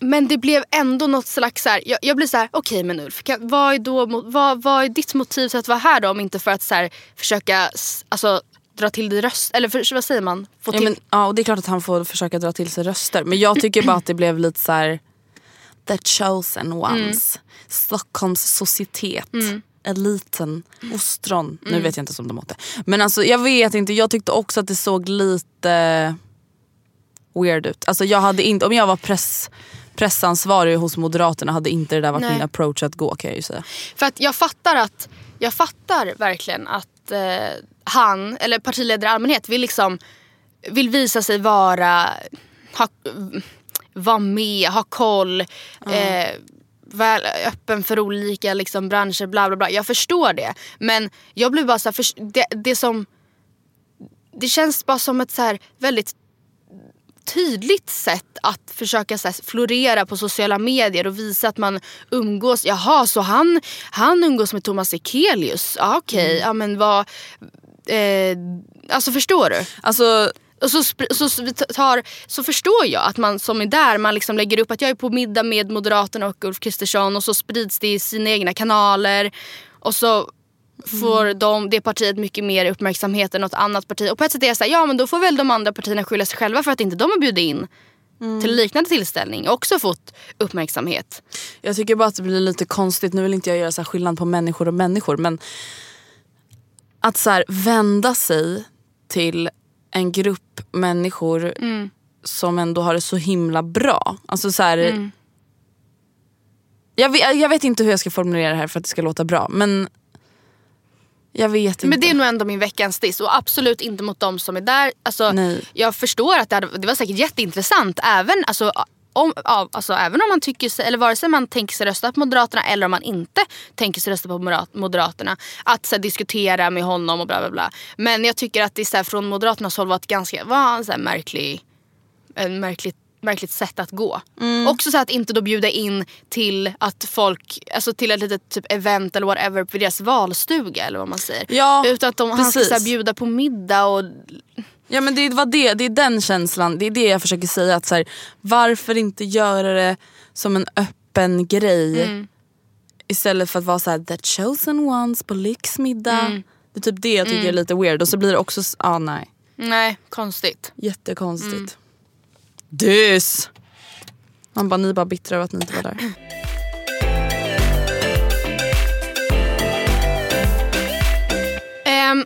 men det blev ändå något slags... Så här, jag, jag blir så här, okej men Ulf, kan, vad, är då, mo- vad, vad är ditt motiv till att vara här då om inte för att så här, försöka s- alltså, dra till dig röst... Eller för, vad säger man? Få
Ja,
till,
men, ja, och det är klart att han får försöka dra till sig röster. Men jag tycker bara att det blev lite så här. The chosen ones. Stockholms societet. Eliten. Ostron. Nu vet jag inte som de åt det. Men alltså jag vet inte. Jag tyckte också att det såg lite weird ut. Alltså jag hade inte, om jag var press, pressansvarig hos Moderaterna hade inte det där varit
Nej.
min approach att gå kan jag ju säga.
För att jag fattar att jag fattar verkligen att eh, han, eller partiledare i allmänhet, vill liksom vill visa sig vara, ha, vara med, ha koll, eh, väl öppen för olika liksom, branscher, bla bla bla. Jag förstår det. Men jag blir bara så här, förs- det, det som, det känns bara som ett så här väldigt tydligt sätt att försöka så här, florera på sociala medier och visa att man umgås. Jaha, så han, han umgås med Thomas Ekelius? Ja, Okej, ja men vad... Eh, alltså förstår du?
Alltså
Och så, spr- så, så, vi t- tar, så förstår jag att man som är där, man liksom lägger upp att jag är på middag med Moderaterna och Ulf Kristersson och så sprids det i sina egna kanaler. Och så får de, det partiet mycket mer uppmärksamhet än något annat parti. Och på ett sätt är jag såhär, ja men då får väl de andra partierna skylla sig själva för att inte de har bjudit in till liknande tillställning och också fått uppmärksamhet.
Jag tycker bara att det blir lite konstigt, nu vill inte jag göra så här skillnad på människor och människor men att så här vända sig till en grupp människor
Mm.
som ändå har det så himla bra. Alltså så här,
Mm.
jag, vet, jag vet inte hur jag ska formulera det här för att det ska låta bra men jag vet
Men
inte.
det är nog ändå min veckans diss och absolut inte mot de som är där. Alltså,
Nej.
Jag förstår att det, hade, det var säkert jätteintressant även, alltså, om, av, alltså, även om man tycker sig, eller vare sig man tänker sig rösta på Moderaterna eller om man inte tänker sig rösta på Morat- Moderaterna. Att så här, diskutera med honom och bla bla bla. Men jag tycker att det så här, från Moderaternas håll var ett ganska var en, så här, märklig, en märkligt märkligt sätt att gå. Också så här att inte då bjuda in till att folk, alltså till ett litet typ event eller whatever på deras valstuga eller vad man säger.
Ja,
Utan att de, han ska
precis.
så här, bjuda på middag och...
Ja men det var det, det är den känslan, det är det jag försöker säga. Att så här, varför inte göra det som en öppen öppen grej.
Mm.
Istället för att vara så här: the chosen ones på lyxmiddag.
Mm.
Det är typ det jag tycker
Mm.
är lite weird. Och så blir det också, s- ah, nej.
Nej, konstigt.
Jättekonstigt.
Mm.
Dus! Man bara, ni är bara bittra över att ni inte var där.
Ehm,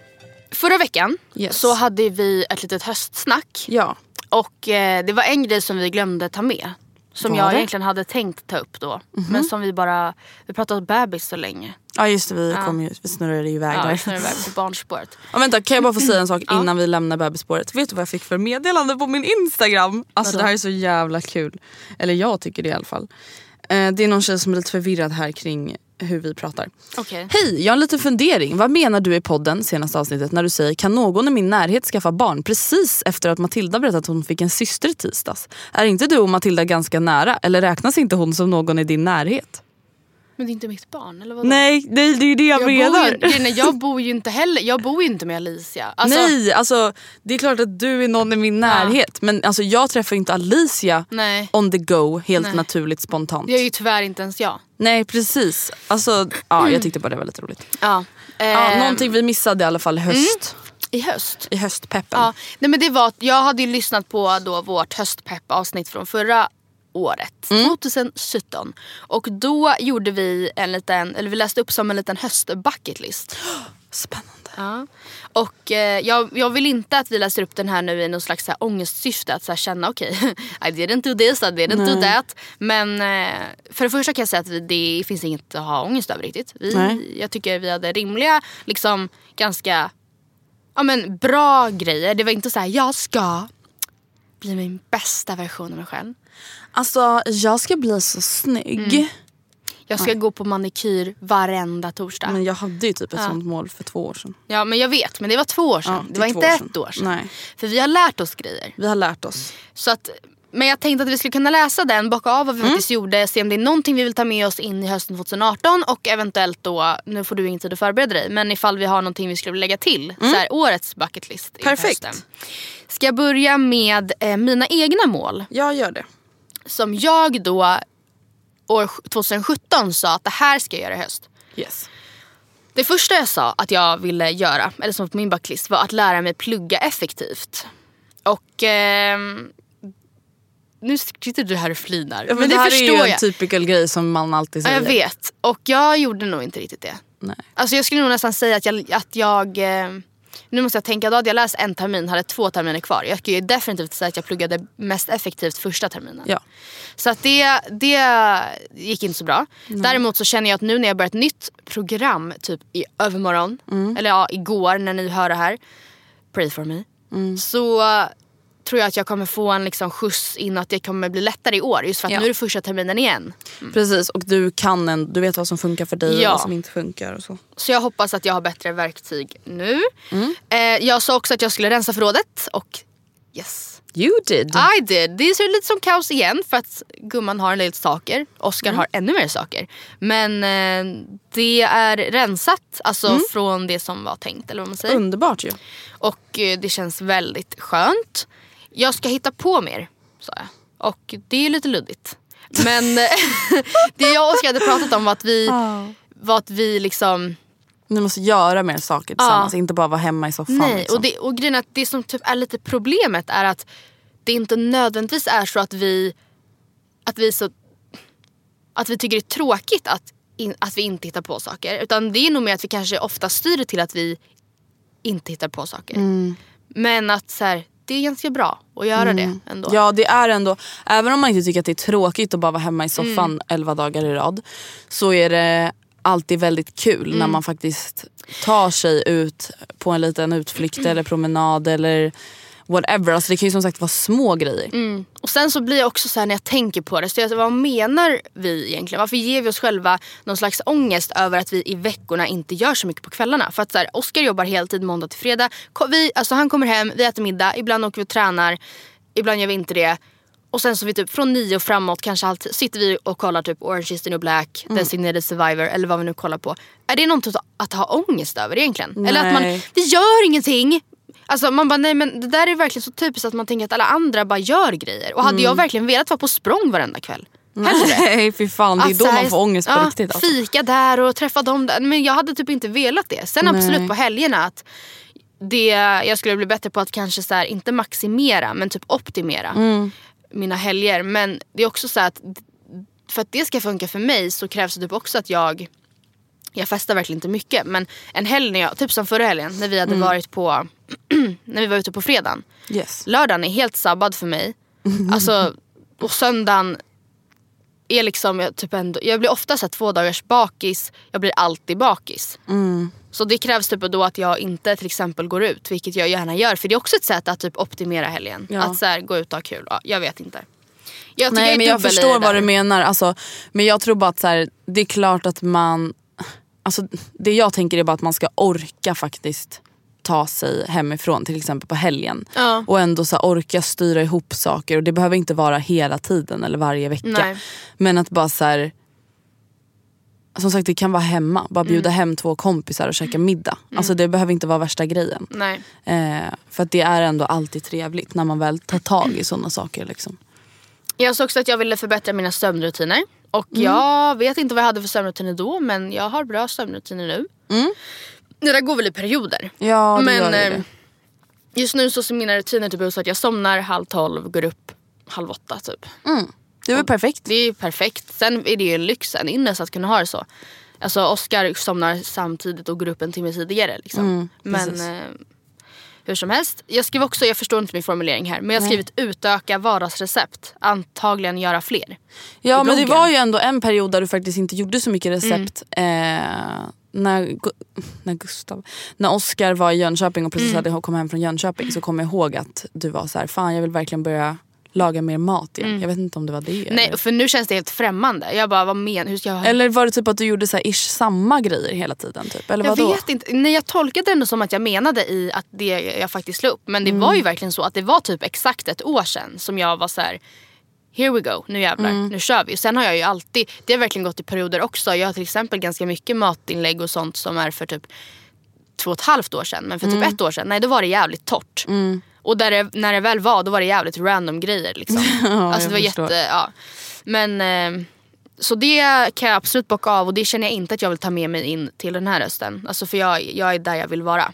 förra veckan
Yes.
så hade vi ett litet höstsnack.
Ja.
Och eh, det var en grej som vi glömde ta med. Som
Var
jag
det?
egentligen hade tänkt ta upp då. Men som vi bara, vi pratade om bebis så länge.
Ja just det, vi,
Ja.
kom ju, vi snurrade ju iväg
Ja,
där.
just när det var på barnspåret.
Ja, vänta, kan jag bara få säga en sak
Ja.
innan vi lämnar bebisspåret? Vet du vad jag fick för meddelande på min Instagram? Alltså
Vadå?
det här är så jävla kul. Eller jag tycker det i alla fall. Eh, det är någon tjej som är lite förvirrad här kring hur vi pratar.
Okej.
Hej, jag har en liten fundering. Vad menar du i podden, senaste avsnittet, när du säger kan någon i min närhet skaffa barn precis efter att Matilda berättat att hon fick en syster i tisdags? Är inte du och Matilda ganska nära eller räknas inte hon som någon i din närhet?
Men det är inte mitt barn eller vadå?
Nej, nej det är ju det jag,
jag
menar.
bor, ju, grejen är, jag bor ju inte heller, jag bor ju inte med Alicia. Alltså,
nej, alltså det är klart att du är någon i min närhet. Men alltså, jag träffar ju inte Alicia
Nej.
on the go helt
Mm. Nej.
naturligt spontant.
Det är ju tyvärr inte ens jag.
Nej precis. Alltså, ja, jag tyckte bara det var lite roligt.
Ja.
Ja,
Mm. Ehm,
någonting vi missade i alla fall i höst.
I höst.
I höstpeppen.
Ja, nej men det var, att jag hade ju lyssnat på då vårt höstpeppavsnitt från förra året,
Mm.
2017. Och då gjorde vi en liten, eller vi läste upp som en liten höstbucketlist.
Spännande.
Ja. Och eh, jag, jag vill inte att vi läser upp den här nu i någon slags så här, ångestsyfte. Att så här, känna okej, I didn't do this, I didn't do that. Men eh, för det första kan jag säga att vi, det finns inget att ha ångest över riktigt. Vi,
Nej.
jag tycker vi hade rimliga, liksom ganska ja, men, bra grejer. Det var inte så här, jag ska bli min bästa version av mig själv.
Alltså jag ska bli så snygg.
Mm. Jag ska gå på manikyr varenda torsdag.
Men jag hade ju typ ett
Ja.
sånt mål för två år sedan.
Ja men jag vet, men det var två år sedan.
Ja,
det,
det är
var
två
inte
år
ett
sedan.
år sedan.
Nej.
För vi har lärt oss grejer.
Vi har lärt oss.
Så att, men jag tänkte att vi skulle kunna läsa den, bocka av vad vi faktiskt gjorde, se om det är någonting vi vill ta med oss in i hösten 2018 och eventuellt då, nu får du ingen tid att förbereda dig, men ifall vi har någonting vi skulle vilja lägga till. Så här, årets bucket list inför
Perfekt.
hösten. Ska jag börja med eh, mina egna mål
Jag gör det.
som jag då år 2017 sa att det här ska jag göra i höst.
Yes.
Det första jag sa att jag ville göra, eller som på min backlist, var att lära mig plugga effektivt. Och... ehm, nu sitter du här och flinar.
Men,
men
det,
det,
här
förstår
är ju en typ
jag.
typical grej som man alltid
Ja,
säger.
jag vet. Och jag gjorde nog inte riktigt det.
Nej.
Alltså jag skulle nog nästan säga att jag... Att jag ehm, nu måste jag tänka, då hade jag läst en termin, hade två terminer kvar. Jag kan ju definitivt säga att jag pluggade mest effektivt första terminen.
Ja.
Så att det, det gick inte så bra. Däremot så känner jag att nu när jag börjar ett nytt program, typ i övermorgon, eller ja, igår när ni hör det här, pray for me, så tror jag att jag kommer få en liksom skjuts in och att det kommer bli lättare i år. Just för att
Ja.
nu är det första terminen igen.
Precis och du kan en, du vet vad som funkar för dig
Ja.
och vad som inte funkar och så.
Så jag hoppas att jag har bättre verktyg nu. Eh, jag sa också att jag skulle rensa förrådet och yes.
You did.
I did. Det ser lite som kaos igen för att gumman har en del saker. Oscar har ännu mer saker. Men eh, det är rensat alltså från det som var tänkt. Eller vad man säger.
Underbart ju.
Och eh, det känns väldigt skönt. Jag ska hitta på mer, sa jag. Och det är lite luddigt. Men eh, det jag och Oscar hade pratat om var att vi, var att vi liksom...
Ni måste göra mer saker tillsammans, inte bara vara hemma i soffan.
Nej,
liksom.
och, det, och grejen är att det som typ är lite problemet är att det inte nödvändigtvis är så att vi att vi, så, att vi tycker det är tråkigt att, in, att vi inte hittar på saker. Utan det är nog mer att vi kanske ofta styr det till att vi inte hittar på saker.
Mm.
Men att så här, det är ganska bra att göra det ändå.
Mm. Ja det är ändå, även om man inte tycker att det är tråkigt att bara vara hemma i soffan
Mm.
11 dagar i rad. Så är det alltid väldigt kul när
Mm.
man faktiskt tar sig ut på en liten utflykt eller promenad eller whatever. Alltså det kan ju som sagt vara små grejer.
Mm. Och sen så blir jag också så här när jag tänker på det, så jag, vad menar vi egentligen? Varför ger vi oss själva någon slags ångest över att vi i veckorna inte gör så mycket på kvällarna? För att så här, Oskar jobbar heltid måndag till fredag. Ko- Vi, alltså han kommer hem, vi äter middag, ibland åker vi och tränar, ibland gör vi inte det. Och sen så vi typ från nio och framåt kanske alltid, sitter vi och kollar typ Orange is the new black, Designated survivor eller vad vi nu kollar på. Är det något att- att ha ångest över egentligen? Eller att man,
Nej.
vi gör ingenting. Alltså man bara nej men det där är verkligen så typiskt att man tänker att alla andra bara gör grejer. Och hade jag verkligen velat vara på språng varenda kväll? Hellre.
Nej fy fan, det är
Att
då
så Alltså, här-
man får ångest på
ja,
riktigt. Alltså.
Fika där och träffa dem där. Men jag hade typ inte velat det. Sen
Nej.
absolut på helgerna att det, jag skulle bli bättre på att kanske så här, inte maximera men typ optimera
Mm.
mina helger. Men det är också så här att för att det ska funka för mig så krävs det typ också att jag jag festar verkligen inte mycket men en helg när jag, typ som förra helgen när vi hade
Mm.
varit på när vi var ute på fredagen.
Yes.
Lördagen är helt sabbad för mig. Alltså, och söndagen är liksom, jag, typ ändå, jag blir ofta så här, två dagars bakis. Jag blir alltid bakis.
Mm.
Så det krävs typ då att jag inte till exempel går ut, vilket jag gärna gör. För det är också ett sätt att typ optimera helgen.
Ja.
Att så här, gå ut och ha kul. Ja, jag vet inte. Jag tycker
Nej
är
men jag
dubbel i
förstår
det
vad
där.
du menar. Alltså, men jag tror bara att så här, det är klart att man... Alltså, det jag tänker är bara att man ska orka faktiskt ta sig hemifrån till exempel på helgen.
Ja.
Och ändå så här, orka styra ihop saker. Och Det behöver inte vara hela tiden eller varje vecka.
Nej.
Men att bara så här... Som sagt det kan vara hemma. Bara
Mm.
bjuda hem två kompisar och käka middag. Alltså Det behöver inte vara värsta grejen.
Nej.
Eh, för att det är ändå alltid trevligt när man väl tar tag i sådana saker. Liksom.
Jag sa också att jag ville förbättra mina sömnrutiner. Och
Mm.
jag vet inte vad jag hade för sömnrutiner då men jag har bra sömnrutiner nu. Det där går väl i perioder.
Mm. Ja, det
men
gör det.
eh, just nu så ser mina rutiner typ ut så att jag somnar halv tolv, går upp halv åtta typ.
Mm. Det är väl perfekt.
Det är ju perfekt. Sen är det ju en lyx, en ynnest att kunna ha det så. Alltså Oscar somnar samtidigt och går upp en timme tidigare. Liksom.
Mm,
men
precis.
eh, hur som helst. Jag skrev också, jag förstår inte min formulering här, men jag
Nej.
har skrivit utöka vardagsrecept. Antagligen göra fler.
Ja
i
men det
bloggen.
var ju ändå en period där du faktiskt inte gjorde så mycket recept.
Mm.
Eh, när, Gu- när Gustav, när Oscar var i Jönköping och precis
Mm.
hade kommit hem från Jönköping så kom jag ihåg att du var så här, fan jag vill verkligen börja laga mer mat igen. Jag vet inte om det var det.
Mm. Nej,
eller?
för nu känns det helt främmande. Jag bara, vad men, hur ska jag...
eller var det typ att du gjorde så här, ish samma grejer hela tiden? Typ? Eller
jag
vadå?
vet inte. Nej, jag tolkade det ändå som att jag menade i att det jag faktiskt slog upp. Men det var
Mm.
ju verkligen så att det var typ exakt ett år sedan som jag var så här. Here we go, nu jävlar,
Mm.
nu kör vi. Och sen har jag ju alltid, det har verkligen gått i perioder också. Jag har till exempel ganska mycket matinlägg och sånt som är för typ två och ett halvt år sedan. Men för typ
Mm.
ett år sedan, nej då var det jävligt torrt. Och där det, när det väl var, då var det jävligt random grejer. Liksom. alltså
jag
det var
förstår.
jätte, ja. Men... ehm, så det kan jag absolut bocka av och det känner jag inte att jag vill ta med mig in till den här hösten. Alltså för jag, jag är där jag vill vara.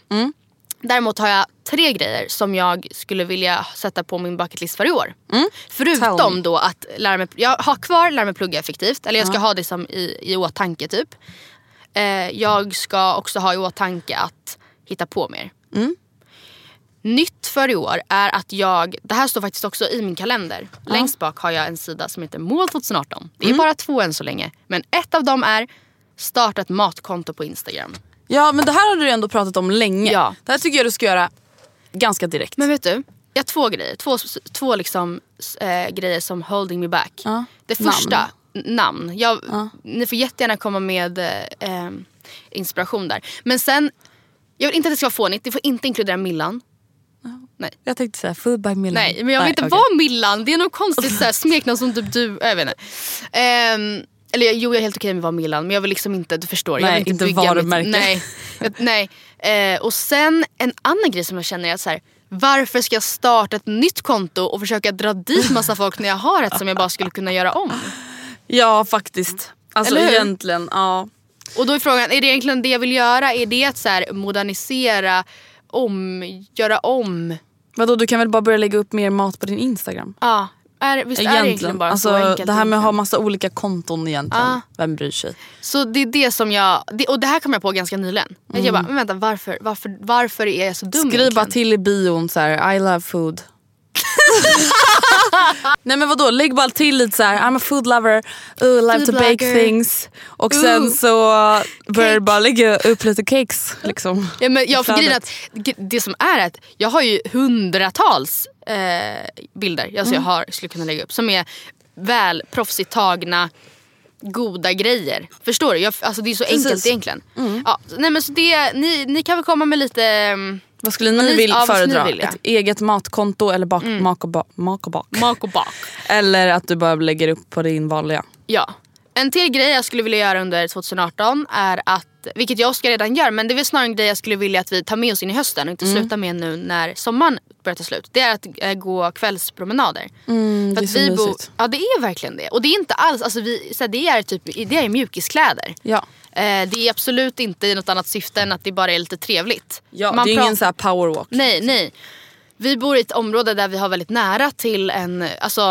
Däremot har jag tre grejer som jag skulle vilja sätta på min bucketlist för i år.
Mm. Tell
Förutom
me.
då att lära mig, jag har kvar lära mig plugga effektivt. Eller jag ska ha det som i, i åtanke typ. Eh, jag ska också ha i åtanke att hitta på mer.
Mm.
Nytt för i år är att jag, det här står faktiskt också i min kalender. Längst bak har jag en sida som heter mål 2018. Det är
Mm.
bara två än så länge. Men ett av dem är starta ett matkonto på Instagram.
Ja men det här har du ändå pratat om länge.
Ja.
Det här tycker jag du ska göra ganska direkt.
Men vet du, jag har två grejer. Två, två liksom, s- eh, grejer som holding me back.
Ja.
Det första, namn. namn. Jag, Ni får jättegärna komma med eh, eh, inspiration där. Men sen, jag vill inte att det ska vara fånigt. Det får inte inkludera Millan. Nej.
Jag tänkte säga food by Milan.
Nej, men jag vill inte
Mm. okej.
vara Millan. Det är något konstigt så här, smeknamn som typ du... Jag vet inte. Ehm, eller jag- jo, jag är helt okej med att vara Millan, men jag vill liksom inte... Du förstår. jag
Nej,
vill
inte
bygga
varumärke.
Mitt, nej. Jag, nej. Eh, och sen en annan grej som jag känner är att så här, varför ska jag starta ett nytt konto och försöka dra dit massa folk när jag har ett som jag bara skulle kunna göra om?
Ja faktiskt. Alltså
Eller hur?
egentligen ja.
Och då är frågan, är det egentligen det jag vill göra? Är det att så här, modernisera, om, göra om?
Vadå du kan väl bara börja lägga upp mer mat på din Instagram?
Ja, är, visst är det egentligen bara
alltså,
så enkelt? Ah.
Det här med att ha
egentligen?
massa olika konton egentligen.
Ja.
Vem bryr sig?
Så det är det som jag, det, och det här kom jag på ganska nyligen. Att Jag bara, men vänta varför, varför, varför är jag så dum
Mm. Skriv bara
egentligen?
till i bion så här, I love food. Nej men vadå, lägg bara till lite så här, I'm a food lover, ooh, love
Food
to bake
blogger.
things. Och sen
Ooh.
så börjar du bara lägga upp lite cakes. Liksom.
Ja, men jag för
Flödet.
grejen är att, g- det som är att jag har ju hundratals eh, bilder alltså
Mm.
jag har, skulle kunna lägga upp som är väl proffsigt tagna goda grejer. Förstår du? Jag, alltså det är så
Precis. Mm.
enkelt egentligen. Ja, så- nej, men så det, ni, ni kan väl komma med lite... mm,
Vad skulle ni
Lite
vill
av vad ni
föredra?
vill, ja. Mm.
Ett eget matkonto eller bak, mak och ba, mak och bak?
Mak och bak.
Eller att du bara lägger upp på din vanliga?
Ja. En till grej jag skulle vilja göra under 2018 är att att, vilket jag och Oskar redan gör men det är väl snarare en grej jag skulle vilja att vi tar med oss in i hösten och inte
Mm.
slutar med nu när sommaren börjar ta slut. Det är att eh, gå kvällspromenader.
Mm, det
För
är
att
så
vi bor-
mysigt.
Ja det är verkligen det. Och det är inte alls, alltså vi, så här, det, är typ, det är mjukiskläder.
Ja.
Eh, det är absolut inte i något annat syfte än att det bara är lite trevligt.
Ja, det är
pratar-
ingen så här powerwalk.
Nej, nej. Vi bor i ett område där vi har väldigt nära till en, alltså,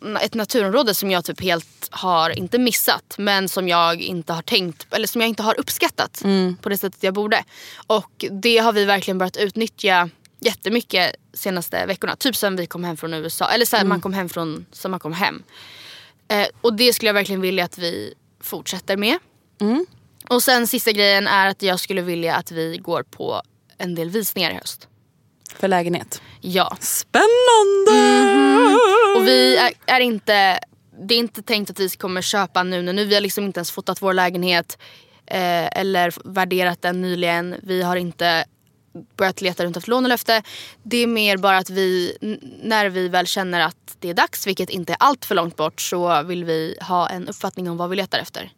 na- ett naturområde som jag typ helt har, inte missat, men som jag inte har tänkt, eller som jag inte har uppskattat
Mm.
på det sättet jag borde. Och det har vi verkligen börjat utnyttja jättemycket senaste veckorna. Typ sen vi kom hem från USA, eller sen man kom hem från, sen man kom hem. Eh, och det skulle jag verkligen vilja att vi fortsätter med.
Mm.
Och sen sista grejen är att jag skulle vilja att vi går på en del visningar i höst.
För lägenhet.
Ja.
Spännande!
Mhm. Och vi är, är inte, det är inte tänkt att vi kommer köpa nu när nu. Vi har liksom inte ens fotat vår lägenhet eh, eller värderat den nyligen. Vi har inte börjat leta runt efter lån och löfte. Det är mer bara att vi, n- när vi väl känner att det är dags, vilket inte är allt för långt bort, så vill vi ha en uppfattning om vad vi letar efter.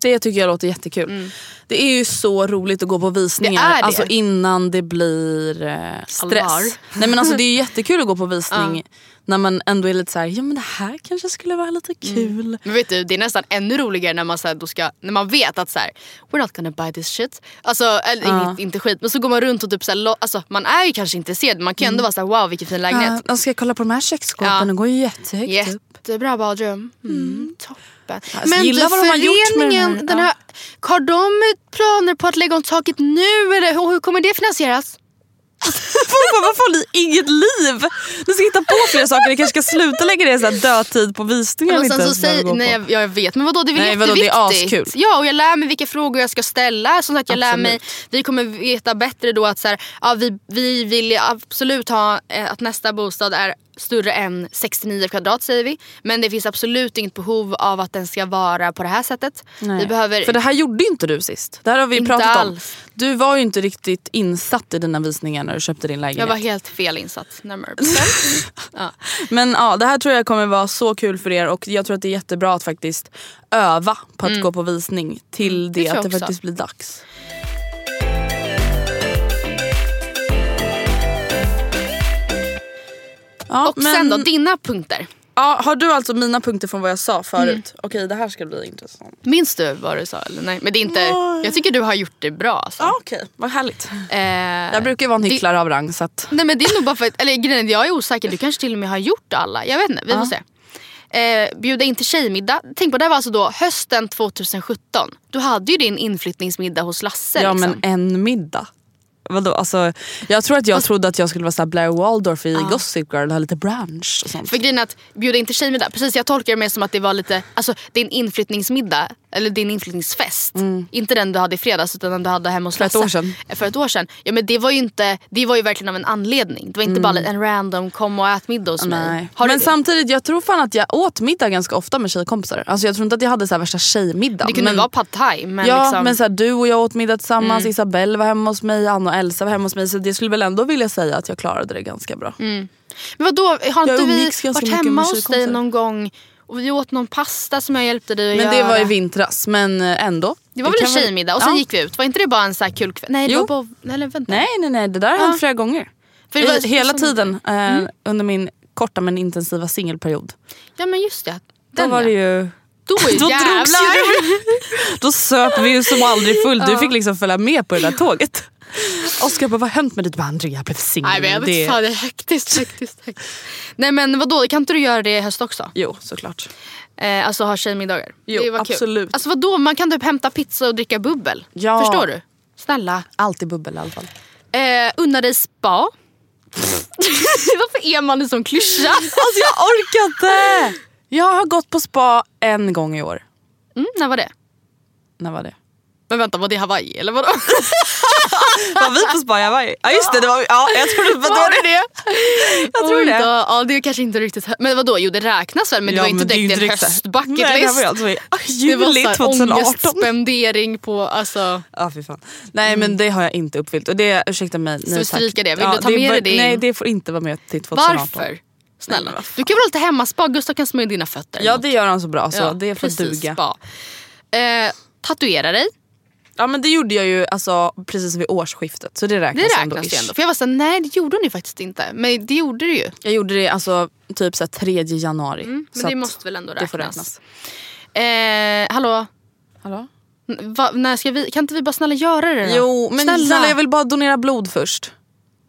Det tycker jag låter jättekul. Det är ju så roligt att gå på visningar
Mm. Det är det.
Alltså innan det blir eh, stress.
Allvar.
Nej, men alltså, det är ju jättekul att gå på visning
Ja.
när man ändå är lite så här, ja men det här kanske skulle vara lite
Mm.
kul.
Men vet du, det är nästan ännu roligare när man, så här, då ska, när man vet att så här, we're not gonna buy this shit. Alltså, eller,
Ja.
inget, inte skit, men så går man runt och typ så här, lo- alltså, man är ju kanske intresserad men man kan
Mm.
ju ändå vara så här, wow vilken fin
Ja,
lägenhet.
jag ska kolla på de här köksskåpen,
Ja.
de går ju jättehögt upp.
Jättebra badrum. Mm, toppen.
Alltså, gillar vad de har gjort med den här.
den här, har de planer på att lägga om taket nu eller hur, hur kommer det finansieras?
Fan, Varför har ni inget liv? Ni ska hitta på fler saker, ni kanske ska sluta lägga det så här dödtid på visningar.
Och
vi inte
sen så
ens behöver
säger,
gå på.
nej, jag, jag vet, men vadå det är väl
Nej, vadå, det är
jätteviktigt?
askul.
Ja, och jag lär mig vilka frågor jag ska ställa. Som sagt, jag lär
Absolut.
mig, vi kommer veta bättre då att så här, ja, vi, vi vill absolut ha eh, att nästa bostad är större än 69 kvadrat säger vi. Men det finns absolut inget behov av att den ska vara på det här sättet.
Nej.
Vi behöver...
För det här gjorde ju inte du sist. Det här har vi
Inte
pratat
alls.
om. Du var ju inte riktigt insatt i dina visningar när du köpte din lägenhet.
jag var helt fel insatt närmare bestämt. ja.
Men ja, det här tror jag kommer vara så kul för er och jag tror att det är jättebra att faktiskt öva på att
Mm.
gå på visning till det,
tror jag
att det
också.
faktiskt blir dags. Ja,
Och sen då, dina punkter.
ja, har du alltså mina punkter från vad jag sa förut?
Mm.
Okej, det här ska bli intressant.
Minns du vad du sa? Eller? Nej, men det är inte, jag tycker du har gjort det bra. Alltså.
Ja, okej. Vad härligt.
Eh,
Jag brukar ju vara en
det-
hycklare av rang så att...
Nej men det är nog bara för att, eller grejen är, jag är osäker, du kanske till och med har gjort alla. Jag vet inte, vi får se. Eh, bjuda in till tjejmiddag. Tänk på det här var alltså då hösten 2017. Du hade ju din inflyttningsmiddag hos Lasse.
Ja
liksom.
men eh, en middag. Vadå? Alltså, jag tror att jag trodde att jag skulle vara så här Blair Waldorf i Gossip Girl och ha lite brunch och sånt.
Ah. För grejen är att bjuda in till tjejmiddag, precis jag tolkar det mer som att det var lite, alltså din inflyttningsmiddag, eller din inflyttningsfest. Inte den du hade i fredags utan den du hade hemma hos
Mm. För ett
Lasse.
år sedan.
Eh, För ett år sedan. Ja men det var ju inte, det var ju verkligen av en anledning. Det var inte bara en random kom och ät middag hos mig.
Mm. Nej.
Har du
men
det?
samtidigt, jag tror fan att jag åt middag ganska ofta med tjejkompisar. Alltså, jag tror inte att jag hade så här värsta tjejmiddag.
det kunde
men...
vara pad thai men
ja,
liksom. Mm.
men så här, du och jag åt middag tillsammans, Isabelle var hemma hos mig, Anna och Elsa var hemma hos mig. Så det skulle väl ändå vilja säga att jag klarade det ganska bra.
Mm, Men vadå, har
Jag
inte vi
umgicks ganska
varit
mycket
hemma
med
hos dig
tjejkompisar.
någon gång och vi åt någon pasta som jag hjälpte dig att
Men det
göra?
var i vintras, men eh, ändå.
Det var väl
kan
en tjejmiddag och sen
Ja.
gick vi ut. Var inte det bara en så här kul kväll? Nej, det
Jo.
var bara... Nej, eller vänta.
Nej, nej, nej. Det där har
Ja.
hänt flera gånger.
För det var-
I, hela
som-
tiden eh,
Mm.
under min korta men intensiva singelperiod.
Ja men just det.
Då
Den
var det
ja.
ju...
Då,
Då drogs ju
jävlar!
Då söp vi ju som aldrig full. Du fick liksom följa med på det där tåget. Oskar bara, vad har hänt med dig? Du bara, Andrea, jag blev singel.
Nej men jag vet fan, det är hektiskt, hektiskt, hektiskt. Nej men vadå, kan inte du göra det i höst också?
Jo, såklart.
Eh, alltså ha tjejmiddagar.
Jo,
det var kul.
absolut.
Alltså vadå, man kan typ hämta pizza och dricka bubbel.
Ja.
Förstår du? Snälla.
Alltid bubbel i alla fall.
Eh, unna dig spa. Varför är man en sån klyscha?
Alltså jag orkar inte! Jag har gått på spa en gång i år.
Mm, när var det?
När var det?
Men vänta, var det Hawaii eller vadå?
Var vi på spa i Hawaii? Ja just det, det var, ja, jag trodde att det var det. Jag tror
Oj
det.
Då, ja, det är kanske inte riktigt... hö- Men vadå, jo det räknas väl men det
Ja,
var inte
men det är ju
direkt en
direkt så här-
höstbucket
Nej, det här var ju
list.
alltså i
Det var
juli
så här
2018.
ångestspendering på... Alltså,
Ja fy fan. Nej men det har jag inte uppfyllt. Och det, ursäkta mig nu
Mm. vi
tack.
stryka det? Vill du ta
det
med
var-
dig det in?
Nej det får inte vara med till 2018.
varför?
Nej, men
Snälla.
vad fan.
Du kan väl ha lite hemmaspa? Gustav kan smörja dina fötter.
Ja det gör han så bra så
Ja,
det får
precis,
duga.
Spa. Eh, tatuera dig.
Ja men det gjorde jag ju alltså, precis vid årsskiftet så det
Det
räknas,
räknas
ändå.
ju
ish.
ändå. För jag var såhär, nej det gjorde ni faktiskt inte. Men det gjorde du ju.
Jag gjorde det alltså typ så här 3 januari.
Mm, men
Så
det
att
måste väl ändå
det får
räknas. Eh, hallå?
Hallå?
N- Va, när ska vi, kan inte vi bara snälla göra det då?
Jo men snälla. jag vill bara donera blod först.